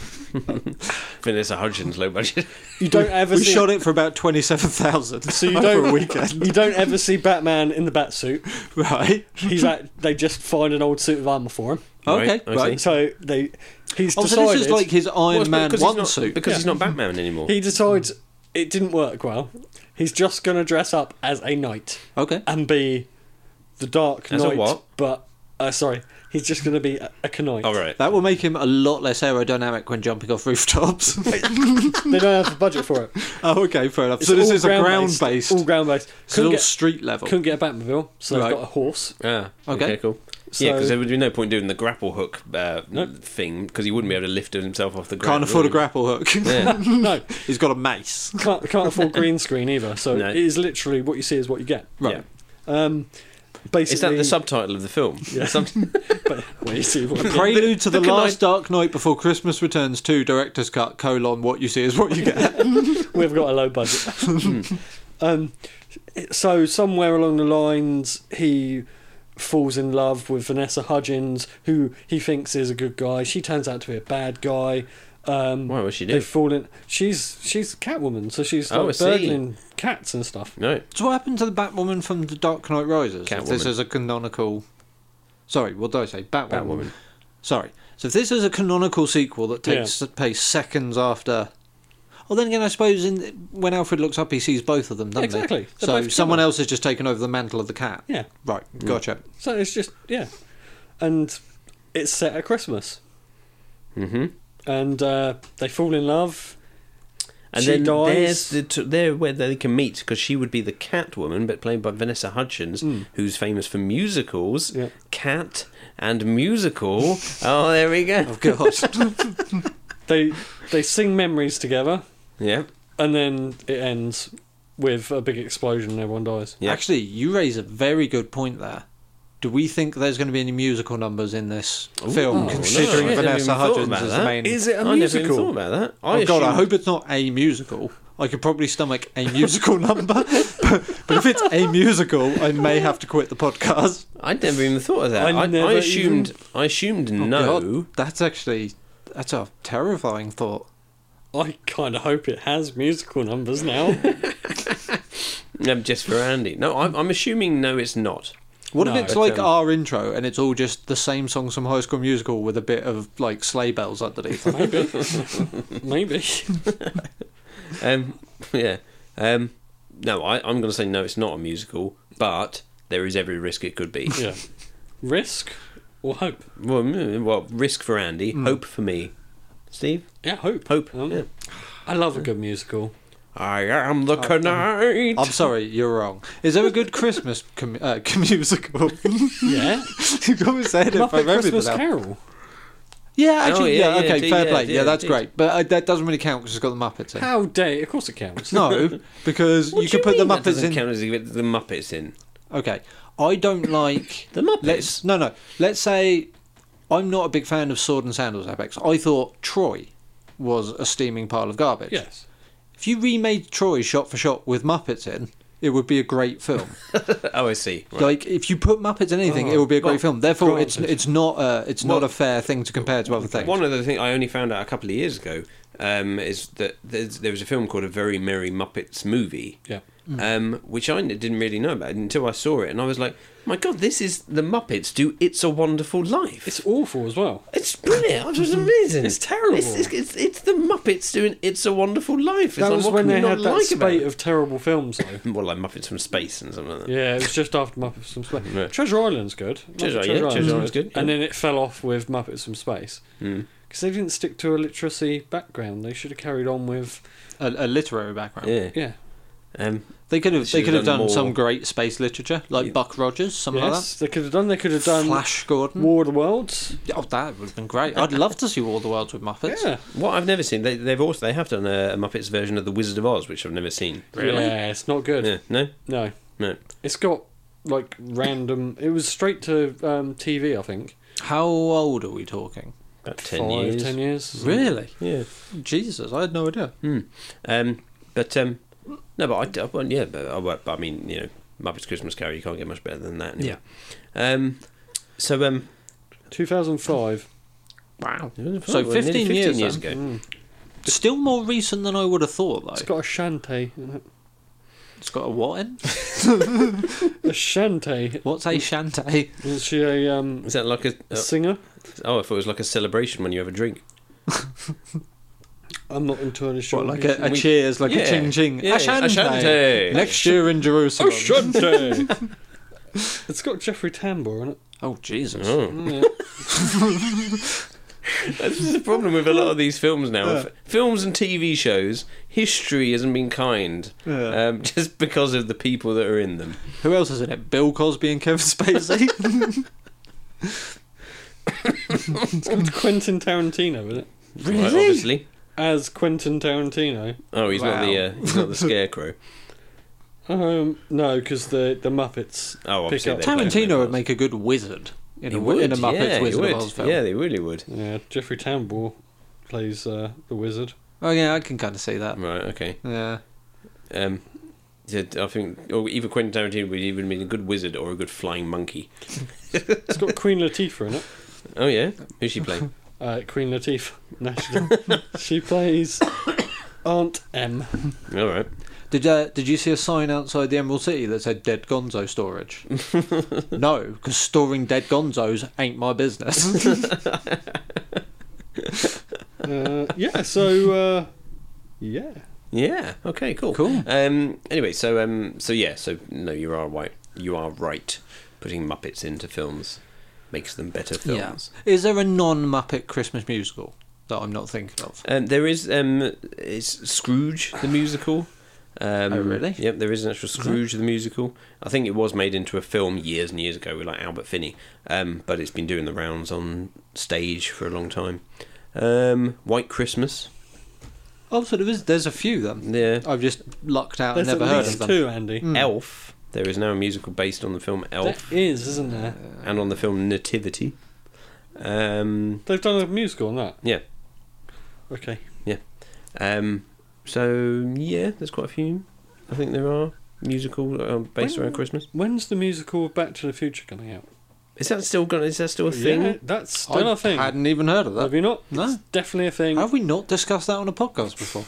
Speaker 4: Vanessa Hudgens, low budget.
Speaker 5: you don't ever
Speaker 6: We
Speaker 5: see
Speaker 6: shot it for about twenty-seven thousand.
Speaker 5: so you
Speaker 6: over
Speaker 5: don't
Speaker 6: a weekend,
Speaker 5: you don't ever see Batman in the bat suit.
Speaker 6: right?
Speaker 5: He's at, they just find an old suit of armor for him.
Speaker 6: Okay,
Speaker 4: Right, I
Speaker 6: right.
Speaker 5: So they he's
Speaker 6: Oh, so
Speaker 5: decided
Speaker 6: this is like his Iron
Speaker 4: Well, it's
Speaker 6: Man
Speaker 4: because he's
Speaker 6: one
Speaker 4: not-
Speaker 6: suit.
Speaker 4: because he's not Batman anymore.
Speaker 5: he decides it didn't work well. He's just going to dress up as a knight
Speaker 6: Okay.
Speaker 5: and be the Dark
Speaker 4: As a
Speaker 5: Knight.
Speaker 4: what?
Speaker 5: But uh, sorry, he's just going to be a, a knight.
Speaker 4: All Oh, right.
Speaker 6: That will make him a lot less aerodynamic when jumping off rooftops.
Speaker 5: They don't have the budget for it.
Speaker 6: oh, okay, fair enough. so this
Speaker 5: all
Speaker 6: is a ground
Speaker 5: ground-based,
Speaker 6: based.
Speaker 5: All ground based.
Speaker 6: It's all
Speaker 5: Couldn't get,
Speaker 6: street level.
Speaker 5: couldn't get a Batmobile, so
Speaker 6: Right.
Speaker 5: they've got a horse.
Speaker 4: Ah,
Speaker 6: Okay.
Speaker 4: okay. Cool.
Speaker 5: So,
Speaker 4: yeah, because there would be no point doing the grapple hook uh, thing because he wouldn't be able to lift himself off the ground.
Speaker 6: Can't afford a
Speaker 4: would he?
Speaker 6: grapple hook.
Speaker 4: Yeah.
Speaker 5: no,
Speaker 6: He's got a mace.
Speaker 5: can't, can't afford green screen either. So
Speaker 4: No.
Speaker 5: it is literally what you see is what you get.
Speaker 6: Right.
Speaker 4: Yeah.
Speaker 5: Um, basically,
Speaker 4: Is that the subtitle of the film?
Speaker 5: Yeah.
Speaker 4: Some-
Speaker 5: but- well, you see what you get.
Speaker 6: Prelude to the,
Speaker 4: the
Speaker 6: Last Dark Night Before Christmas Returns 2 Director's Cut, colon, what you see is what you get.
Speaker 5: We've got a low budget. um, so somewhere along the lines, he falls in love with Vanessa Hudgens, who he thinks is a good guy. She turns out to be a bad guy. Um,
Speaker 4: Why was she
Speaker 5: they
Speaker 4: do?
Speaker 5: fall in. She's she's Catwoman, so she's
Speaker 4: Oh,
Speaker 5: like
Speaker 4: I see.
Speaker 5: burgling cats and stuff.
Speaker 4: No.
Speaker 6: so what happened to the Batwoman from The Dark Knight Rises? If this
Speaker 4: Catwoman.
Speaker 6: is a canonical... Sorry, what did I say? Batwoman.
Speaker 4: Batwoman.
Speaker 6: Sorry. So if this is a canonical sequel that takes place seconds after... Well, then again, I suppose in, when Alfred looks up, he sees both of them, doesn't he?
Speaker 5: Exactly. They're both
Speaker 6: So
Speaker 5: together.
Speaker 6: someone else has just taken over the mantle of the cat.
Speaker 5: Yeah. Mm.
Speaker 6: Right, gotcha.
Speaker 5: So it's just yeah, and it's set at Christmas,
Speaker 4: Mm-hmm.
Speaker 5: and uh, they fall in love.
Speaker 4: And
Speaker 5: She
Speaker 4: then
Speaker 5: dies.
Speaker 4: there's the t- there where they can meet because she would be the Catwoman, but played by Vanessa Hudgens,
Speaker 6: Hmm.
Speaker 4: who's famous for musicals,
Speaker 5: Yeah.
Speaker 4: cat and musical. oh, there we go.
Speaker 6: Oh, God.
Speaker 5: They they sing memories together,
Speaker 4: Yeah,
Speaker 5: and then it ends with a big explosion and everyone dies.
Speaker 4: Yeah.
Speaker 6: Actually, you raise a very good point there. Do we think there's going to be any musical numbers in this film,
Speaker 4: Oh,
Speaker 6: considering
Speaker 4: no, I never even
Speaker 6: Vanessa
Speaker 4: thought
Speaker 6: Hudgens
Speaker 4: about
Speaker 6: is the
Speaker 4: that.
Speaker 6: main?
Speaker 5: Is it a
Speaker 4: I never even
Speaker 5: musical?
Speaker 4: thought about that. I
Speaker 6: oh God, I
Speaker 4: assumed-
Speaker 6: hope it's not a musical. I could probably stomach a musical number, but, but if it's a musical, I may have to quit the podcast.
Speaker 4: I'd never even thought of that.
Speaker 5: I
Speaker 4: I, I,
Speaker 5: never
Speaker 4: assumed. I assumed
Speaker 6: Oh,
Speaker 4: no.
Speaker 6: God, that's actually that's a terrifying thought.
Speaker 5: I kind of hope it has musical numbers now.
Speaker 4: Um, just for Andy. No, I'm, I'm assuming no. It's not.
Speaker 6: What
Speaker 5: No,
Speaker 6: if it's
Speaker 4: but,
Speaker 6: like
Speaker 4: um,
Speaker 6: our intro and it's all just the same songs from High School Musical with a bit of like sleigh bells underneath?
Speaker 5: Maybe, maybe.
Speaker 4: Um, yeah. Um, no, I, I'm going to say no. It's not a musical, but there is every risk it could be.
Speaker 5: Yeah. Risk or hope?
Speaker 4: Well, mm, well, risk for Andy, hope for me. Steve,
Speaker 5: Yeah, hope.
Speaker 4: hope.
Speaker 5: Um,
Speaker 4: yeah.
Speaker 5: I love a good musical.
Speaker 4: I am the knight.
Speaker 6: I'm sorry, you're wrong. Is there a good Christmas com- uh, musical?
Speaker 5: Yeah.
Speaker 6: You've always said it. if I
Speaker 5: Muppet
Speaker 6: remember
Speaker 5: Christmas
Speaker 6: now.
Speaker 5: Carol.
Speaker 6: Yeah, actually,
Speaker 4: Oh, yeah,
Speaker 6: yeah,
Speaker 4: yeah,
Speaker 6: okay,
Speaker 4: indeed,
Speaker 6: fair
Speaker 4: yeah,
Speaker 6: play. Yeah,
Speaker 4: yeah,
Speaker 6: that's
Speaker 4: indeed.
Speaker 6: great, but uh, that doesn't really count because it's got the Muppets in.
Speaker 5: How dare? Of course it counts.
Speaker 6: No, because you
Speaker 4: What
Speaker 6: can
Speaker 4: do
Speaker 6: put the
Speaker 4: mean that
Speaker 6: Muppets
Speaker 4: doesn't
Speaker 6: in.
Speaker 4: Count as you get the Muppets in.
Speaker 6: Okay, I don't like
Speaker 4: The Muppets?
Speaker 6: Let's no, no. Let's say I'm not a big fan of Sword and Sandals Apex. I thought Troy was a steaming pile of garbage.
Speaker 5: Yes.
Speaker 6: If you remade Troy shot for shot with Muppets in, it would be a great film.
Speaker 4: Oh, I see. Right.
Speaker 6: Like if you put Muppets in anything, it would be a great film. Therefore, it's it's not a, it's not a fair thing to compare to other things.
Speaker 4: One other thing I only found out a couple of years ago um, is that there's, there was a film called A Very Merry Muppets Movie,
Speaker 5: Yeah.
Speaker 4: um, which I didn't really know about until I saw it, and I was like, "My God, this is the Muppets do It's a Wonderful Life."
Speaker 5: It's awful as well.
Speaker 4: It's brilliant. It was amazing.
Speaker 5: It's terrible.
Speaker 4: It's, it's, it's, it's the Muppets doing "It's a Wonderful Life." It's
Speaker 5: That
Speaker 4: like,
Speaker 5: was
Speaker 4: what
Speaker 5: when
Speaker 4: can
Speaker 5: they
Speaker 4: you
Speaker 5: had
Speaker 4: not
Speaker 5: that
Speaker 4: like about
Speaker 5: spate
Speaker 4: it?
Speaker 5: of terrible films, though.
Speaker 4: Well, like Muppets from Space and something like that.
Speaker 5: Yeah, it was just after Muppets from Space.
Speaker 4: Right.
Speaker 5: Treasure Island's good.
Speaker 4: Treasure-
Speaker 5: Muppet
Speaker 4: yeah, Treasure Island's good,
Speaker 5: And
Speaker 4: yeah. Hmm.
Speaker 5: then it fell off with Muppets from Space because they didn't stick to a literacy background. They should have carried on with
Speaker 6: a, a literary background.
Speaker 4: Yeah.
Speaker 5: yeah.
Speaker 4: Um,
Speaker 6: They could have
Speaker 4: Should
Speaker 6: they
Speaker 4: have
Speaker 6: could have
Speaker 4: done
Speaker 6: done,
Speaker 4: more.
Speaker 6: some great space literature like Buck Rogers, something
Speaker 5: yes, they could have done. They could
Speaker 6: like
Speaker 5: have
Speaker 6: that.
Speaker 5: done Hmm.
Speaker 6: Flash Gordon.
Speaker 5: War of the Worlds.
Speaker 6: Oh, that would have been great. I'd love to see War of the Worlds with Muppets.
Speaker 5: Yeah.
Speaker 4: what I've never seen, they, they've also they have done a, a Muppets version of the Wizard of Oz, which I've never seen.
Speaker 5: Yeah, it's not good.
Speaker 4: Yeah. No.
Speaker 5: No,
Speaker 4: No.
Speaker 5: it's got like random. It was straight to um, TV, I think.
Speaker 6: How old are we talking?
Speaker 4: About ten
Speaker 5: Five,
Speaker 4: years.
Speaker 5: ten years.
Speaker 6: Really?
Speaker 4: Yeah.
Speaker 6: Jesus, I had no idea.
Speaker 4: Um, but um, no, but I, I well, yeah, but I, but I mean, you know, Muppets Christmas Carol, you can't get much better than that. Anyway. Yeah. Um, so um,
Speaker 5: Two thousand five.
Speaker 6: Wow.
Speaker 4: well,
Speaker 6: So
Speaker 4: nearly
Speaker 6: 15, years, then.
Speaker 4: ago.
Speaker 5: Mm.
Speaker 6: Still more recent than I would have thought, though.
Speaker 5: It's got a shanty. in it.
Speaker 6: it's got a what in?
Speaker 5: A shanty.
Speaker 6: What's a shanty?
Speaker 5: Was she a um,
Speaker 4: Is that like a?
Speaker 5: a
Speaker 4: Oh,
Speaker 5: singer?
Speaker 4: oh, I thought it was like a celebration when you have a drink.
Speaker 5: I'm not entirely sure.
Speaker 6: What, like
Speaker 5: who
Speaker 6: a, a
Speaker 4: We-
Speaker 6: cheers, like
Speaker 4: Yeah.
Speaker 6: a ching ching?
Speaker 4: Yeah,
Speaker 6: A Oh, shanty.
Speaker 4: Ashanti.
Speaker 6: Next year in Jerusalem.
Speaker 5: It's got Jeffrey Tambor on it.
Speaker 6: Oh, Jesus.
Speaker 4: Oh,
Speaker 5: Yeah.
Speaker 4: this is Oh. the problem with a lot of these films now. F- Films and TV shows, history hasn't been kind,
Speaker 6: Yeah.
Speaker 4: um, just because of the people that are in them.
Speaker 6: Who else is in it? Bill Cosby and Kevin Spacey?
Speaker 5: It's Quentin Tarantino, isn't it?
Speaker 4: Really? obviously.
Speaker 5: As Quentin Tarantino.
Speaker 4: Oh, he's not the
Speaker 6: Wow.
Speaker 4: uh, he's not the scarecrow.
Speaker 5: Um, no, because the the Muppets.
Speaker 4: Oh,
Speaker 5: pick
Speaker 4: obviously
Speaker 5: up.
Speaker 4: they play with
Speaker 6: Tarantino
Speaker 4: their
Speaker 6: would
Speaker 4: mouse.
Speaker 6: make a good wizard in,
Speaker 4: He
Speaker 6: a,
Speaker 4: would,
Speaker 6: in a Muppets
Speaker 4: yeah, he
Speaker 6: Wizard
Speaker 4: would.
Speaker 6: of Oz film.
Speaker 4: Yeah, they really would.
Speaker 5: Yeah, Jeffrey Tambor plays uh, the wizard.
Speaker 6: Oh yeah, I can kind of see that.
Speaker 4: Right. Okay.
Speaker 6: Yeah.
Speaker 4: Um, yeah, I think or either Quentin Tarantino would even be a good wizard or a good flying monkey.
Speaker 5: It's got Queen Latifah in it.
Speaker 4: Oh yeah, who's she playing?
Speaker 5: Uh, Queen Latifah, national. she plays Aunt M.
Speaker 4: All right.
Speaker 6: Did uh, Did you see a sign outside the Emerald City that said "Dead Gonzo Storage"? no, because storing dead Gonzos ain't my business.
Speaker 5: Uh, yeah. So uh, yeah.
Speaker 4: Yeah. Okay. Cool.
Speaker 6: Cool.
Speaker 4: Um. Anyway, so um. So yeah. So no, you are right. You are right. Putting Muppets into films makes them better films.
Speaker 6: Is there a non Muppet Christmas musical that I'm not thinking of?
Speaker 4: Um, there is um. It's Scrooge the musical. Um,
Speaker 6: Oh, really? Uh-huh.
Speaker 4: Yep. There is an actual Scrooge the musical. I think it was made into a film years and years ago with like Albert Finney. Um. But it's been doing the rounds on stage for a long time. Um. White Christmas.
Speaker 6: Oh, so there is. There's a few then.
Speaker 4: Yeah.
Speaker 6: I've just lucked out
Speaker 5: There's
Speaker 6: and never
Speaker 5: at
Speaker 6: heard
Speaker 5: least
Speaker 6: of them. Hmm.
Speaker 5: two, Andy.
Speaker 4: Elf. There is now a musical based on the film
Speaker 5: There
Speaker 4: Elf
Speaker 5: is, isn't there?
Speaker 4: and on the film Nativity. Um,
Speaker 5: They've done a musical on that.
Speaker 4: yeah.
Speaker 5: Okay.
Speaker 4: Um, so yeah, there's quite a few. I think there are musical uh, based around Christmas.
Speaker 5: When's the musical Back to the Future coming out?
Speaker 4: Is that still gonna? Is that still a thing?
Speaker 5: Yeah, that's still
Speaker 6: I
Speaker 5: a thing.
Speaker 6: hadn't even heard of
Speaker 5: Have
Speaker 6: that.
Speaker 5: you not?
Speaker 6: No.
Speaker 5: It's definitely a thing.
Speaker 6: Have we not discussed that on a podcast before?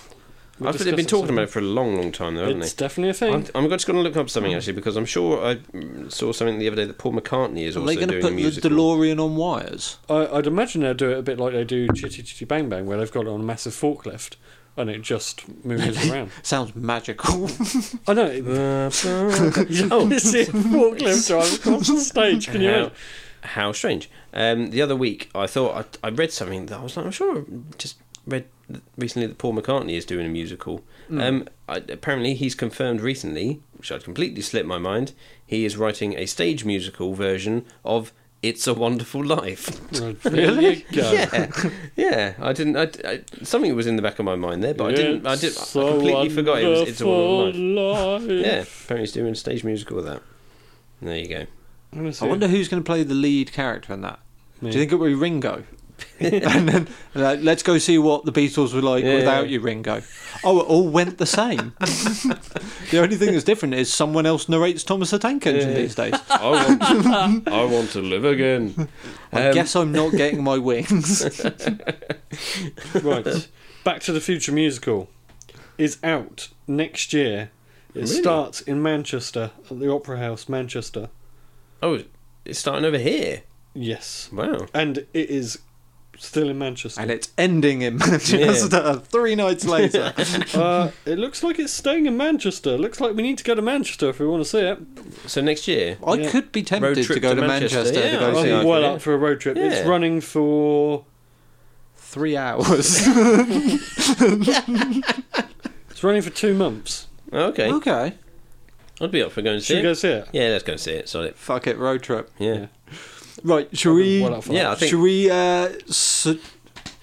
Speaker 5: We'll
Speaker 4: I think they've
Speaker 5: discuss
Speaker 4: been
Speaker 5: it
Speaker 4: talking
Speaker 5: soon.
Speaker 4: about it for a long, long time, though, haven't
Speaker 5: It's
Speaker 4: they?
Speaker 5: definitely a thing.
Speaker 4: I'm, I'm just going to look up something
Speaker 6: Mm.
Speaker 4: actually because I'm sure I mm, saw something the other day that Paul McCartney is
Speaker 6: Are
Speaker 4: also
Speaker 6: they going to
Speaker 4: doing a
Speaker 6: put the
Speaker 4: musical.
Speaker 6: DeLorean on wires?
Speaker 5: I, I'd imagine they'll do it a bit like they do Chitty Chitty Bang Bang, where they've got it on a massive forklift and it just moves around.
Speaker 6: Sounds magical.
Speaker 5: I know. It, oh, it's a forklift drive across the stage. Can you
Speaker 4: How,
Speaker 5: imagine?
Speaker 4: how strange. Um, the other week, I thought I, I read something that I was like, I'm sure I just read recently that Paul McCartney is doing a musical.
Speaker 5: Hmm.
Speaker 4: Um, I, apparently, he's confirmed recently, which I'd completely slipped my mind, he is writing a stage musical version of It's a Wonderful Life.
Speaker 5: Right, Really? Go.
Speaker 4: Yeah, yeah. I didn't. I, I- something was in the back of my mind there, but I didn't. I did.
Speaker 5: It's
Speaker 4: I
Speaker 5: a
Speaker 4: completely forgot it was. It's a wonderful life.
Speaker 5: wonderful life.
Speaker 4: Yeah. Apparently, he's doing a stage musical of that. There you go.
Speaker 5: I'm gonna see
Speaker 6: I wonder who's going to play the lead character in that.
Speaker 5: Me.
Speaker 6: Do you think it will be Ringo? and then like, let's go see what the Beatles were like
Speaker 4: Yeah.
Speaker 6: without you, Ringo. Oh, it all went the same. the only thing that's different is someone else narrates Thomas the Tank Engine
Speaker 4: Yeah.
Speaker 6: these days.
Speaker 4: I want, I want to live again.
Speaker 6: I
Speaker 4: Um,
Speaker 6: guess I'm not getting my wings.
Speaker 5: Right. Back to the Future musical is out next year. It
Speaker 4: Really?
Speaker 5: starts in Manchester at the Opera House, Manchester.
Speaker 4: Oh, it's starting over here.
Speaker 5: Yes.
Speaker 4: Wow.
Speaker 5: And it is still in Manchester.
Speaker 6: and it's ending in Manchester three nights later.
Speaker 5: uh, it looks like it's staying in Manchester. Looks like we need to go to Manchester if we want to see it.
Speaker 4: So next year.
Speaker 6: I
Speaker 5: Yeah.
Speaker 6: could be
Speaker 4: Road
Speaker 6: tempted
Speaker 4: trip
Speaker 6: to go
Speaker 4: to
Speaker 6: to
Speaker 4: Manchester,
Speaker 6: Manchester,
Speaker 4: yeah,
Speaker 6: to go
Speaker 4: I
Speaker 6: see
Speaker 4: see.
Speaker 5: I'm
Speaker 6: it.
Speaker 5: well
Speaker 4: yeah.
Speaker 5: up for a road trip. It's
Speaker 4: Yeah.
Speaker 5: running for
Speaker 6: three hours.
Speaker 5: it's running for two months.
Speaker 4: Oh, Okay.
Speaker 6: okay.
Speaker 4: I'd be up for going to see
Speaker 5: Should
Speaker 4: it.
Speaker 5: we go see it?
Speaker 4: Yeah, let's go see it. Solid.
Speaker 6: Fuck it, road trip.
Speaker 4: Yeah.
Speaker 6: Right, shall we?
Speaker 5: Well up for
Speaker 4: Yeah,
Speaker 5: that.
Speaker 4: I think.
Speaker 6: Should we uh, so-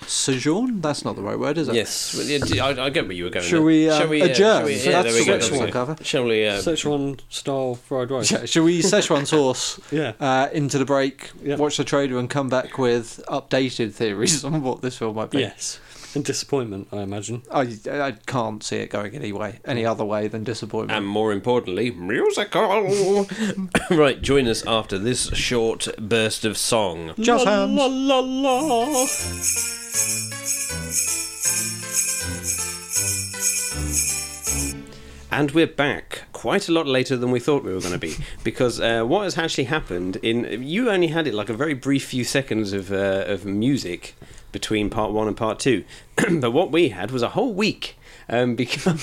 Speaker 6: sojourn? That's not the right word, is it?
Speaker 4: Yes. Well, yeah, d- I, I get where you were going.
Speaker 6: Shall
Speaker 4: there.
Speaker 6: we, um,
Speaker 4: shall we uh,
Speaker 6: adjourn?
Speaker 4: Shall we,
Speaker 6: So
Speaker 4: yeah,
Speaker 6: that's
Speaker 4: there we go. there we
Speaker 6: the next
Speaker 4: go.
Speaker 6: one, cover.
Speaker 4: Shall we? Uh,
Speaker 5: Sichuan style fried rice.
Speaker 6: Sh- Shall we Szechuan's horse
Speaker 5: Yeah.
Speaker 6: uh, into the break,
Speaker 5: Yeah.
Speaker 6: watch the trailer, and come back with updated theories on what this film might be?
Speaker 5: Yes. And disappointment, I imagine.
Speaker 6: I, I can't see it going any way, any other way than disappointment.
Speaker 4: and more importantly, musical. right, join us after this short burst of song.
Speaker 6: Just hands.
Speaker 5: La la la. la.
Speaker 4: And we're back quite a lot later than we thought we were going to be because uh, what has actually happened in you only had it like a very brief few seconds of uh, of music between part one and part two, but what we had was a whole week um, because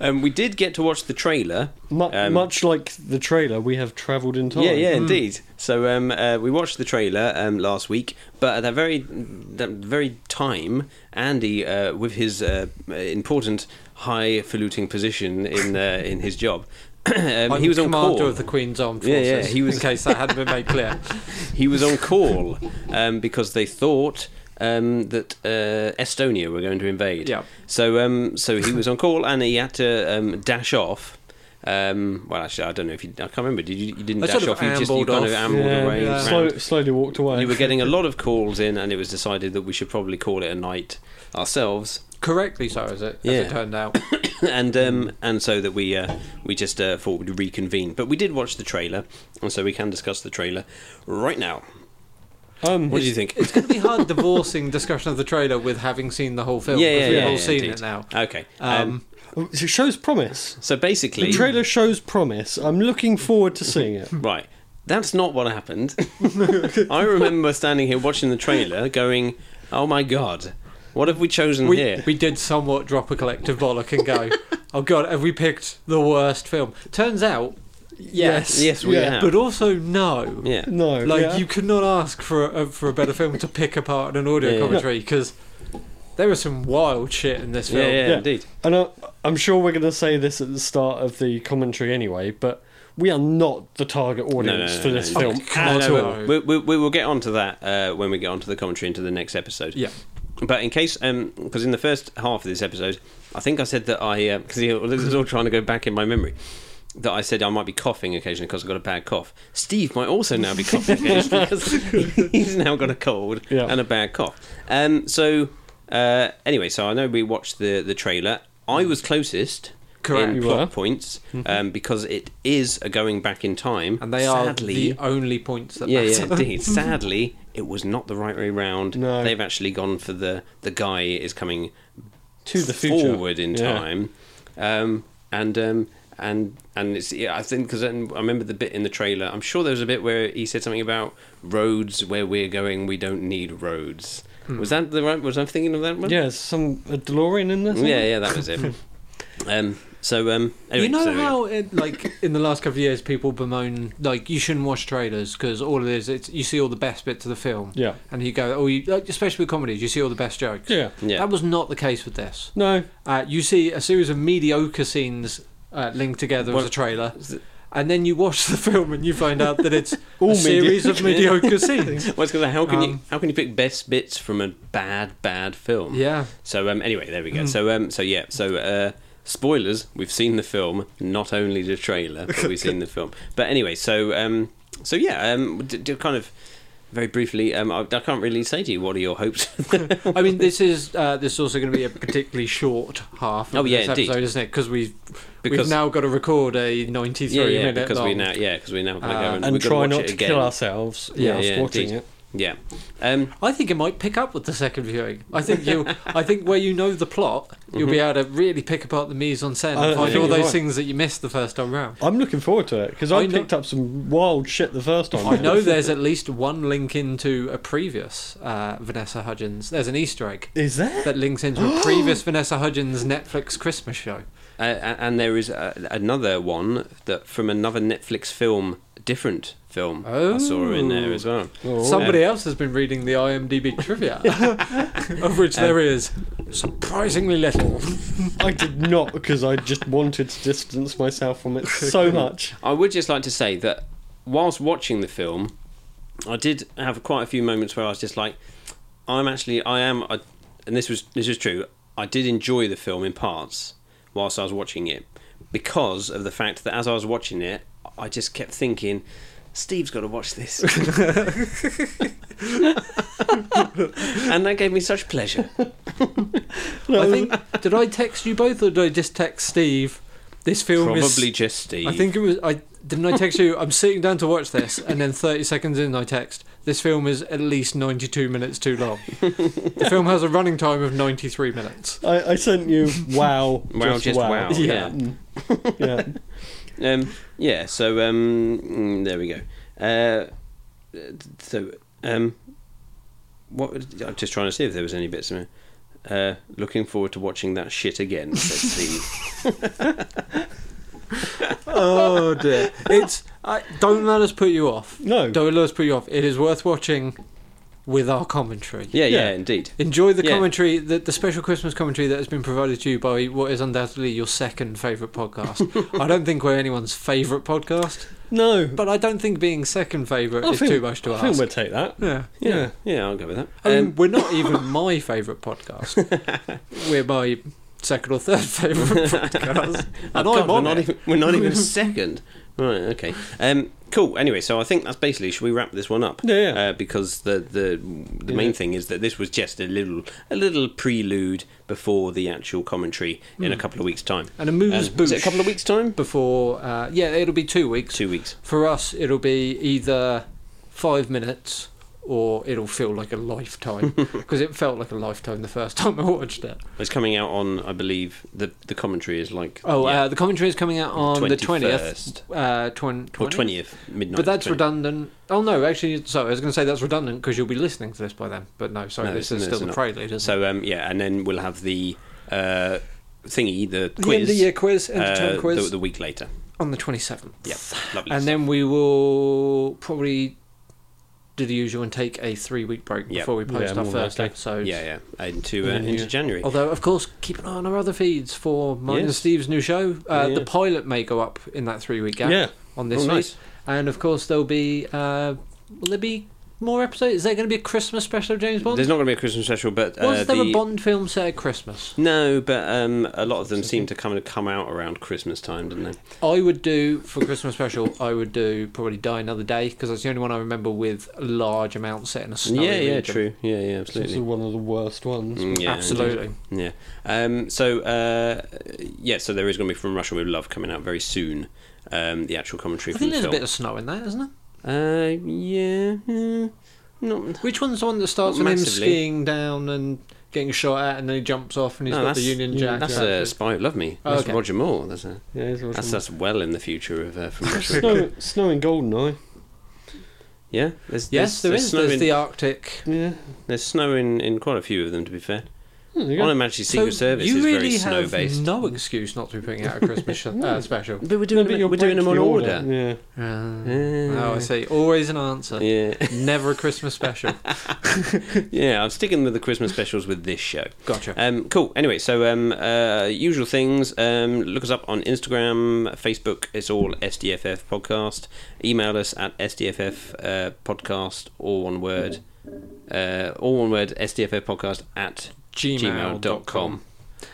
Speaker 4: um, we did get to watch the trailer.
Speaker 5: Mu-
Speaker 4: um,
Speaker 5: much like the trailer, we have travelled in time.
Speaker 4: yeah,
Speaker 7: Hmm.
Speaker 4: yeah, indeed. So um, uh, we watched the trailer um, last week, but at that very, that very time, Andy, uh, with his uh, important highfalutin position in uh, in his job, um,
Speaker 7: I'm
Speaker 4: he was on
Speaker 7: commander
Speaker 4: call.
Speaker 7: of the Queen's Armed
Speaker 4: Yeah,
Speaker 7: Forces.
Speaker 4: yeah, he was-
Speaker 7: in case that hadn't been made clear.
Speaker 4: He was on call um, because they thought um, that uh, Estonia were going to invade.
Speaker 7: Yeah.
Speaker 4: So um, so he was on call and he had to um, dash off. Um, well, actually, I don't know if you. I can't remember. Did you? You didn't
Speaker 7: I
Speaker 4: dash
Speaker 7: sort of
Speaker 4: off. You just you
Speaker 7: ambled
Speaker 4: kind of
Speaker 7: off.
Speaker 4: ambled away.
Speaker 5: yeah.
Speaker 4: round.
Speaker 5: Slow, slowly walked away.
Speaker 4: You were getting a lot of calls in, and it was decided that we should probably call it a night ourselves,
Speaker 7: Correctly so, is it? As
Speaker 4: Yeah.
Speaker 7: it turned out.
Speaker 4: and um, and so that we uh, we just uh, thought we'd reconvene. But we did watch the trailer, and so we can discuss the trailer right now.
Speaker 5: Um,
Speaker 4: What do you think?
Speaker 7: It's going to be hard divorcing discussion of the trailer with having seen the whole film.
Speaker 4: Yeah,
Speaker 7: because
Speaker 4: yeah,
Speaker 7: we've
Speaker 4: yeah,
Speaker 7: all
Speaker 4: yeah,
Speaker 7: seen
Speaker 4: indeed.
Speaker 7: it now.
Speaker 4: Okay. Um,
Speaker 7: Um,
Speaker 5: oh, it shows promise.
Speaker 4: so basically,
Speaker 5: The trailer shows promise. I'm looking forward to seeing it.
Speaker 4: right. That's not what happened. I remember standing here watching the trailer, going, "Oh my god, what have we chosen
Speaker 7: we,
Speaker 4: here?"
Speaker 7: we did somewhat drop a collective bollock and go, oh god, have we picked the worst film? Turns out, yes.
Speaker 4: yes, we
Speaker 5: Yeah,
Speaker 4: have.
Speaker 7: But also, no.
Speaker 4: yeah.
Speaker 5: No,
Speaker 7: Like,
Speaker 5: yeah.
Speaker 7: you could not ask for a, for a better film to pick apart an audio
Speaker 4: Yeah, yeah.
Speaker 7: commentary because there was some wild shit in this
Speaker 4: Yeah,
Speaker 7: film.
Speaker 4: yeah,
Speaker 5: Yeah.
Speaker 4: indeed.
Speaker 5: And I, I'm sure we're going to say this at the start of the commentary anyway, but we are not the target audience
Speaker 4: no,
Speaker 5: for
Speaker 4: no,
Speaker 5: this
Speaker 4: no.
Speaker 5: film
Speaker 7: Oh, God,
Speaker 5: at
Speaker 7: no,
Speaker 5: all.
Speaker 7: no.
Speaker 4: We, we, we will get onto that uh, when we get onto the commentary into the next episode.
Speaker 7: Yeah.
Speaker 4: But in case, because in the first half of this episode, I think I said that I, uh, because this is all trying to go back in my memory, that I said I might be coughing occasionally because I've got a bad cough. Steve might also now be coughing occasionally because he's now got a cold
Speaker 5: Yeah.
Speaker 4: and a bad cough. Um, so, uh, anyway, so I know we watched the, the trailer. I was closest.
Speaker 7: Correct.
Speaker 4: In
Speaker 5: You
Speaker 4: plot
Speaker 5: were. Mm-hmm.
Speaker 4: points, um, because it is a going back in time,
Speaker 7: And they
Speaker 4: sadly,
Speaker 7: are the only points that
Speaker 4: yeah,
Speaker 7: matter.
Speaker 4: yeah, indeed. Sadly, it was not the right way round.
Speaker 5: No.
Speaker 4: They've actually gone for the the guy is coming
Speaker 5: To the future.
Speaker 4: forward in
Speaker 5: Yeah.
Speaker 4: time, um, and um, and and it's yeah, I think because I remember the bit in the trailer. I'm sure there was a bit where he said something about roads where we're going. We don't need roads.
Speaker 7: Hmm.
Speaker 4: Was that the right? Was I thinking of that one?
Speaker 5: Yeah, some a DeLorean in this.
Speaker 4: yeah, yeah, that was it. um, so um, anyway,
Speaker 7: you know
Speaker 4: so,
Speaker 7: how, it, like, in the last couple of years, people bemoan like you shouldn't watch trailers because all it is, it's you see all the best bits of the film,
Speaker 5: Yeah.
Speaker 7: and you go, oh, you, like, especially with comedies, you see all the best jokes.
Speaker 5: Yeah.
Speaker 4: Yeah.
Speaker 7: that was not the case with this.
Speaker 5: No.
Speaker 7: Uh, you see a series of mediocre scenes uh, linked together as a trailer. And then you watch the film and you find out that it's
Speaker 5: All
Speaker 7: a series of mediocre scenes.
Speaker 4: Well, it's 'cause how can you
Speaker 7: Um,
Speaker 4: how can you pick best bits from a bad bad film?
Speaker 7: Yeah.
Speaker 4: So um, anyway, there we
Speaker 5: Hmm.
Speaker 4: go. So um, so yeah. So uh, spoilers. We've seen the film, not only the trailer, but we've seen the film. But anyway, so um, so yeah. Um, d- d- kind of very briefly. Um, I, I can't really say to you what are your hopes.
Speaker 7: I mean, this is uh, this is also going to be a particularly short half of
Speaker 4: Oh, yeah,
Speaker 7: this
Speaker 4: indeed.
Speaker 7: episode, isn't it? Because we've
Speaker 4: Because-
Speaker 7: we've now got to record a ninety-three
Speaker 4: yeah, yeah.
Speaker 7: minute
Speaker 4: Because
Speaker 7: long.
Speaker 4: we now yeah because we now gonna
Speaker 7: Uh,
Speaker 4: go and,
Speaker 5: And
Speaker 4: we're gonna
Speaker 5: try
Speaker 4: watch
Speaker 5: not
Speaker 4: it
Speaker 5: to
Speaker 4: again.
Speaker 5: kill ourselves
Speaker 7: Yeah,
Speaker 5: whilst
Speaker 4: yeah,
Speaker 5: watching
Speaker 4: indeed.
Speaker 5: it.
Speaker 4: Yeah. Um,
Speaker 7: I think it might pick up with the second viewing. I think you, I think where you know the plot, you'll
Speaker 4: Mm-hmm.
Speaker 7: be able to really pick apart the mise en scène
Speaker 5: I- I
Speaker 7: and find
Speaker 5: think
Speaker 7: all
Speaker 5: you're
Speaker 7: those
Speaker 5: right.
Speaker 7: things that you missed the first time round.
Speaker 5: I'm looking forward to it because
Speaker 7: I
Speaker 5: I,
Speaker 7: know-
Speaker 5: picked up some wild shit the first time.
Speaker 7: I know there's at least one link into a previous uh, Vanessa Hudgens. There's an Easter egg
Speaker 5: Is there?
Speaker 7: that links into a previous Vanessa Hudgens Netflix Christmas show.
Speaker 4: uh, and there is uh, another one that from another Netflix film, different film. I saw in there
Speaker 5: Oh.
Speaker 4: as well.
Speaker 7: Somebody else has been reading the IMDb trivia, of which there is surprisingly little.
Speaker 5: I did not because I just wanted to distance myself from it so much.
Speaker 4: I would just like to say that whilst watching the film, I did have quite a few moments where I was just like, I'm actually, I am, I, and this was this is true. I did enjoy the film in parts whilst I was watching it because of the fact that as I was watching it, I just kept thinking. Steve's got to watch this, and that gave me such pleasure.
Speaker 7: I think did I text you both or did I just text Steve? This film is
Speaker 4: Probably just Steve.
Speaker 7: I think it was. I didn't. I text you. I'm sitting down to watch this, and then 30 seconds in, I text. This film is at least 92 minutes too long. the film has a running time of 93 minutes.
Speaker 5: I, I sent you wow,
Speaker 4: Wow, just wow, yeah.
Speaker 5: yeah.
Speaker 4: Um, yeah, so um, mm, there we go. Uh, so, um, what? I'm just trying to see if there was any bits. Of, uh, looking forward to watching that shit again. Says Steve.
Speaker 7: Oh dear! It's. I, don't let us put you off.
Speaker 5: No.
Speaker 7: Don't let us put you off. It is worth watching. with our commentary.
Speaker 4: Yeah, yeah,
Speaker 8: Yeah.
Speaker 4: indeed.
Speaker 7: Enjoy the
Speaker 4: Yeah.
Speaker 7: commentary, the, the special Christmas commentary that has been provided to you by what is undoubtedly your second favourite podcast. I don't think we're anyone's favourite podcast,
Speaker 5: No.
Speaker 7: but I don't think being second favourite
Speaker 5: I
Speaker 7: is
Speaker 5: think-
Speaker 7: too much to
Speaker 5: I think
Speaker 7: ask.
Speaker 5: we'll take that.
Speaker 7: yeah.
Speaker 4: Yeah, yeah, I'll go with that.
Speaker 7: I mean,
Speaker 4: Um,
Speaker 7: we're not even my favourite podcast. we're my second or third favourite podcast.
Speaker 4: Oh,
Speaker 7: and
Speaker 4: God,
Speaker 7: I'm on
Speaker 4: we're not
Speaker 7: it.
Speaker 4: even we're not even second. Right, okay. Um, cool. Anyway, so I think that's basically. Should we wrap this one up?
Speaker 5: Yeah, yeah.
Speaker 4: Uh, because the the the
Speaker 5: Yeah.
Speaker 4: main thing is that this was just a little a little prelude before the actual commentary in a couple of weeks' time.
Speaker 7: And a moose
Speaker 4: Um, is it a couple of weeks' time?
Speaker 7: before, uh, yeah, it'll be two weeks.
Speaker 4: Two weeks.
Speaker 7: For us, it'll be either five minutes or it'll feel like a lifetime because it felt like a lifetime the first time I watched it.
Speaker 4: It's coming out on, I believe, the the commentary is like
Speaker 7: Oh,
Speaker 4: yeah,
Speaker 7: uh, the commentary is coming out on the
Speaker 4: 21st.
Speaker 7: twentieth, uh, twen-
Speaker 4: or
Speaker 7: 20th?
Speaker 4: twentieth midnight.
Speaker 7: But that's
Speaker 4: 20th.
Speaker 7: redundant. Oh no, actually, sorry, I was going to say that's redundant because you'll be listening to this by then. But no, sorry,
Speaker 4: No,
Speaker 7: this
Speaker 4: it's-
Speaker 7: is
Speaker 4: no,
Speaker 7: still
Speaker 4: it's
Speaker 7: the
Speaker 4: not.
Speaker 7: prelude. Isn't it?
Speaker 4: So um, yeah, and then we'll have the uh, thingy, the
Speaker 7: the end
Speaker 4: quiz,
Speaker 7: of year quiz, end
Speaker 4: uh,
Speaker 7: of term quiz
Speaker 4: The, the week later.
Speaker 7: on the twenty seventh.
Speaker 4: Yeah, lovely.
Speaker 7: and then we will probably do the usual and take a three week break
Speaker 4: Yeah.
Speaker 7: before we post
Speaker 5: Yeah,
Speaker 7: our
Speaker 5: more
Speaker 7: first
Speaker 5: likely.
Speaker 7: episode.
Speaker 4: yeah, yeah, into uh,
Speaker 5: Yeah,
Speaker 4: into
Speaker 5: yeah.
Speaker 4: January.
Speaker 7: Although, of course, keep an eye on our other feeds for mine and
Speaker 4: Yes.
Speaker 7: Steve's new show. Uh,
Speaker 4: Yeah.
Speaker 7: The pilot may go up in that three week
Speaker 5: Yeah.
Speaker 7: gap on this
Speaker 4: Oh,
Speaker 7: week.
Speaker 4: nice.
Speaker 7: And, of course, there'll be. Uh, will there be more episodes? Is there going to be a Christmas special of James Bond?
Speaker 4: There's not going to be a Christmas special, but uh,
Speaker 7: Was there
Speaker 4: the-
Speaker 7: a Bond film set at Christmas?
Speaker 4: No, but um, a lot of them seem to come and come out around Christmas time, didn't they?
Speaker 7: I would do, for Christmas special, I would do probably Die Another Day because that's the only one I remember with a large amount set in a snowy
Speaker 4: yeah, yeah,
Speaker 7: region.
Speaker 4: true. Yeah, yeah,
Speaker 5: It's also
Speaker 4: absolutely.
Speaker 5: one of the worst ones.
Speaker 4: Mm, yeah,
Speaker 7: Absolutely.
Speaker 4: indeed. Yeah. Um, so uh, yeah, so there is going to be from Russia with Love coming out very soon. Um, the actual commentary. from
Speaker 7: I think there's
Speaker 4: the
Speaker 7: a bit of snow in that, isn't there?
Speaker 4: Uh, yeah. mm, not.
Speaker 7: Which one's the one that starts
Speaker 4: Not
Speaker 7: with him
Speaker 4: massively.
Speaker 7: skiing down and getting shot at, and then he jumps off and he's
Speaker 4: no,
Speaker 7: got the
Speaker 4: that's-
Speaker 7: Union
Speaker 5: yeah,
Speaker 7: Jack?
Speaker 4: That's
Speaker 5: Jack.
Speaker 4: uh, Spy Who Loved Me.
Speaker 7: Oh,
Speaker 4: That's
Speaker 7: okay.
Speaker 4: Roger Moore. That's, a,
Speaker 5: Yeah, it's also-
Speaker 4: that's that's well in the future of uh, from Russia. with Love.
Speaker 5: snow, snow in Goldeneye.
Speaker 4: yeah. There's, there's,
Speaker 7: Yes, there
Speaker 4: there's
Speaker 7: is.
Speaker 4: Snow
Speaker 7: There's
Speaker 4: in,
Speaker 7: the uh, Arctic.
Speaker 5: Yeah.
Speaker 4: There's snow in, in quite a few of them, to be fair.
Speaker 5: Oh, there you go.
Speaker 4: On Imagine Secret Service
Speaker 7: you
Speaker 4: is
Speaker 7: really
Speaker 4: very snow
Speaker 7: have
Speaker 4: based.
Speaker 7: no excuse not to be putting out a Christmas sh- uh, special.
Speaker 4: But we're
Speaker 5: No,
Speaker 4: doing,
Speaker 5: but
Speaker 4: them-
Speaker 5: you're
Speaker 4: we're doing them on
Speaker 5: breaking the
Speaker 4: order.
Speaker 5: Yeah.
Speaker 7: Uh,
Speaker 4: Yeah.
Speaker 7: Oh, I see. Always an answer.
Speaker 4: Yeah,
Speaker 7: Never a Christmas special.
Speaker 4: yeah. I'm sticking with the Christmas specials with this show.
Speaker 7: Gotcha.
Speaker 4: Um, cool. Anyway, so um, uh, usual things. Um, look us up on Instagram, Facebook. It's all SDFF podcast. Email us at SDFF uh, podcast, all one word. Uh, all one word. SDFF podcast at
Speaker 7: Gmail.com.
Speaker 4: gmail.com.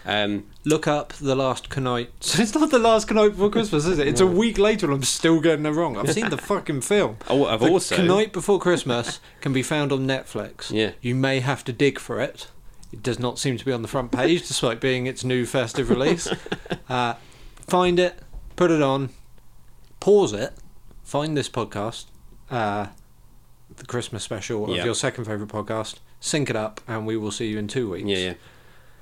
Speaker 4: Um,
Speaker 7: Look up the last Knight. So it's not the last Knight before Christmas, is it? It's a week later, and I'm still getting it wrong. I've seen the fucking film.
Speaker 4: oh, I've
Speaker 7: The
Speaker 4: also
Speaker 7: Knight Before Christmas can be found on Netflix.
Speaker 4: Yeah.
Speaker 7: You may have to dig for it. It does not seem to be on the front page, despite being its new festive release. Uh, find it, put it on, pause it, find this podcast, uh, the Christmas special of
Speaker 4: Yeah.
Speaker 7: your second favourite podcast, sync it up, and we will see you in two weeks.
Speaker 4: Yeah, yeah.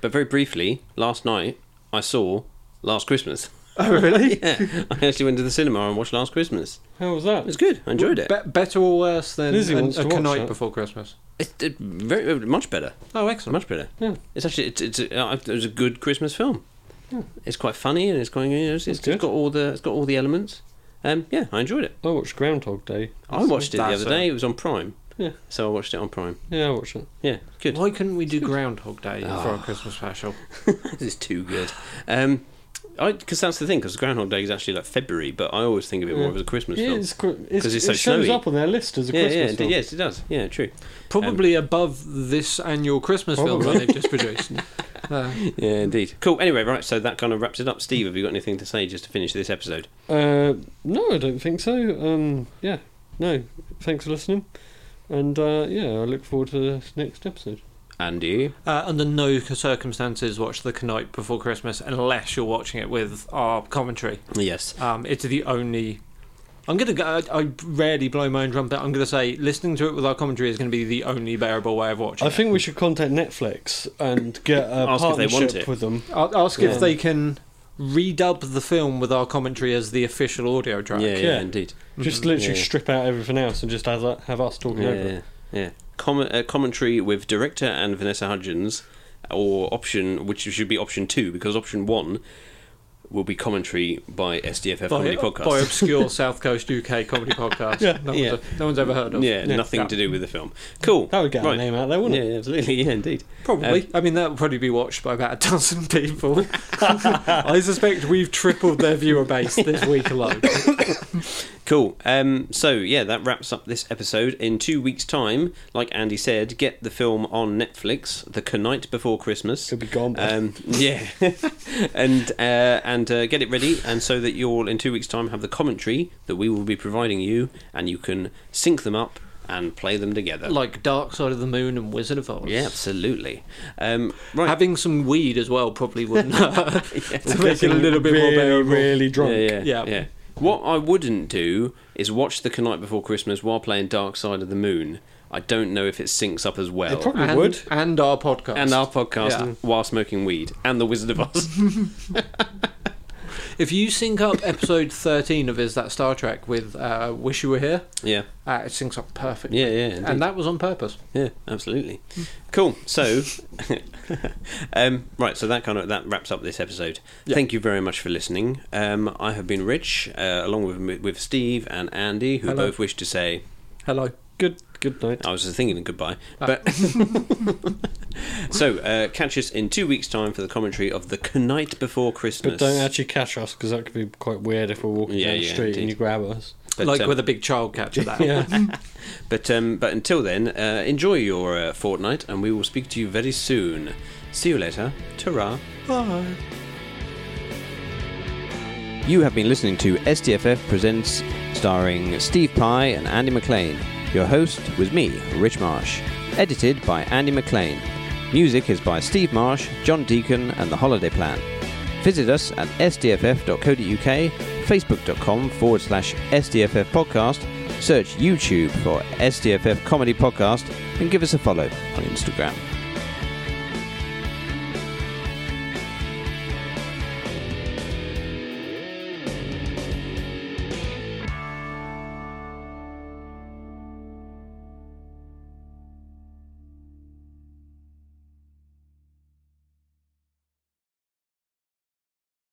Speaker 4: But very briefly, last night I saw Last Christmas.
Speaker 5: Oh, really?
Speaker 4: Yeah, I actually went to the cinema and watched Last Christmas.
Speaker 5: How was
Speaker 4: It
Speaker 5: that?
Speaker 4: was good. I enjoyed it.
Speaker 7: Be- better or worse than
Speaker 5: Lizzie
Speaker 7: a,
Speaker 5: wants
Speaker 7: a
Speaker 5: to watch
Speaker 7: Knight
Speaker 5: that.
Speaker 7: Before Christmas?
Speaker 4: It's it, very uh, much better.
Speaker 7: Oh,
Speaker 4: It's
Speaker 7: excellent.
Speaker 4: much better.
Speaker 5: Yeah.
Speaker 4: It's actually it's, it's uh, it was a good Christmas film. It's quite funny and it's quite you know, it's,
Speaker 5: That's
Speaker 4: it's
Speaker 5: good.
Speaker 4: got all the it's got all the elements. Um, yeah, I enjoyed it.
Speaker 5: I watched Groundhog Day.
Speaker 4: I watched it the
Speaker 7: That's
Speaker 4: other
Speaker 7: it.
Speaker 4: day. It was on Prime.
Speaker 5: Yeah.
Speaker 4: So I watched it on Prime.
Speaker 5: Yeah, I watched it.
Speaker 4: Yeah, good.
Speaker 7: Why couldn't we do Groundhog Day for
Speaker 5: Ah.
Speaker 4: Oh.
Speaker 7: our Christmas special?
Speaker 4: this is too good. Um, I because that's the thing because Groundhog Day is actually like February, but I always think of it more
Speaker 5: Yeah.
Speaker 4: as a Christmas
Speaker 5: Yeah,
Speaker 4: film.
Speaker 5: it's, cr- it's,
Speaker 4: 'Cause
Speaker 5: it
Speaker 4: it's so
Speaker 5: shows
Speaker 4: snowy.
Speaker 5: up on their list as a
Speaker 4: yeah, yeah,
Speaker 5: Christmas
Speaker 4: it-
Speaker 5: film.
Speaker 4: yes, it does. Yeah, true.
Speaker 7: Probably above this annual Christmas film
Speaker 5: Probably.
Speaker 7: that they've just produced. Uh,
Speaker 4: Yeah, indeed. Cool. Anyway, right. So that kind of wraps it up. Steve, have you got anything to say just to finish this episode?
Speaker 5: Uh, no, I don't think so. Um, yeah, no. Thanks for listening, and uh, yeah, I look forward to the next episode.
Speaker 4: Andy.
Speaker 7: uh, under no circumstances watch The Knight Before Christmas unless you're watching it with our commentary.
Speaker 4: Yes.
Speaker 7: Um, it's the only. I'm gonna go. I, I rarely blow my own trumpet. I'm gonna say listening to it with our commentary is gonna be the only bearable way of watching.
Speaker 5: I
Speaker 7: it.
Speaker 5: think we should contact Netflix and get a
Speaker 4: Ask if they
Speaker 5: partnership
Speaker 4: want it.
Speaker 5: with them.
Speaker 7: I'll ask
Speaker 5: Yeah.
Speaker 7: if they can redub the film with our commentary as the official audio
Speaker 4: Yeah,
Speaker 7: track.
Speaker 4: yeah,
Speaker 5: Yeah.
Speaker 4: indeed.
Speaker 5: Just
Speaker 7: Mhm.
Speaker 5: literally
Speaker 4: Yeah.
Speaker 5: strip out everything else and just have, that, have us talking
Speaker 4: Yeah,
Speaker 5: over it.
Speaker 4: yeah. yeah. Com- uh, commentary with director and Vanessa Hudgens, or option which should be option two because option one will be commentary by SDFF Comedy Podcast.
Speaker 7: by obscure South Coast UK comedy podcast. no, one's,
Speaker 4: Yeah.
Speaker 7: no one's ever heard of.
Speaker 4: yeah, nothing to do with the film. Cool.
Speaker 5: That would get our
Speaker 4: right.
Speaker 5: name out there, wouldn't
Speaker 4: Yeah,
Speaker 5: it?
Speaker 4: yeah, absolutely. Yeah, indeed. Um,
Speaker 7: Probably. I mean, that would probably be watched by about a dozen people. I suspect we've tripled their viewer base this week alone.
Speaker 4: Cool. Um, so yeah, that wraps up this episode. In two weeks' time, like Andy said, get the film on Netflix, The Night Before Christmas.
Speaker 1: It'll be gone by
Speaker 4: Um, yeah, and uh, and uh, get it ready, and so that you'll in two weeks' time have the commentary that we will be providing you, and you can sync them up and play them together.
Speaker 7: Like Dark Side of the Moon and Wizard of Oz.
Speaker 4: yeah, absolutely. Um, right.
Speaker 7: Having some weed as well probably wouldn't hurt. to make it a
Speaker 5: Getting
Speaker 7: little bit more
Speaker 5: really,
Speaker 7: bearable.
Speaker 5: really drunk.
Speaker 4: yeah, yeah,
Speaker 7: Yeah.
Speaker 4: yeah. What I wouldn't do is watch The Night Before Christmas while playing Dark Side of the Moon. I don't know if it syncs up as well.
Speaker 1: It probably
Speaker 7: and,
Speaker 1: would.
Speaker 7: and our podcast.
Speaker 4: and our podcast
Speaker 7: Yeah.
Speaker 4: while smoking weed and The Wizard of Oz.
Speaker 7: if you sync up episode 13 of Is That Star Trek with uh, Wish You Were Here,
Speaker 4: yeah,
Speaker 7: uh, it syncs up perfectly.
Speaker 4: yeah, yeah. indeed.
Speaker 7: And that was on purpose.
Speaker 4: Yeah, absolutely. Cool. So, um, right. So that kind of that wraps up this episode. Thank you very much for listening. Um, I have been Rich, uh, along with with Steve and Andy, who
Speaker 7: Hello.
Speaker 4: both wish to say
Speaker 7: Hello.
Speaker 5: Good good night.
Speaker 4: I was just thinking of goodbye. But so uh, catch us in two weeks' time for the commentary of the Knight Before Christmas.
Speaker 5: But don't actually catch us because that could be quite weird if we're walking
Speaker 4: Yeah,
Speaker 5: down the
Speaker 4: yeah,
Speaker 5: street
Speaker 4: indeed.
Speaker 5: and you grab us.
Speaker 4: But,
Speaker 7: like
Speaker 4: um,
Speaker 7: with a big child catcher that.
Speaker 5: Yeah.
Speaker 4: But um, but until then, uh, enjoy your uh, fortnight, and we will speak to you very soon. See you later. Ta-ra. Bye. You have been listening to SDFF Presents, starring Steve Pye and Andy McLean. Your host was me, Rich Marsh. Edited by Andy McLean. Music is by Steve Marsh, John Deacon, and The Holiday Plan. Visit us at sdff.co.uk, facebook.com forward slash sdff podcast, search YouTube for SDFF Comedy Podcast, and give us a follow on Instagram.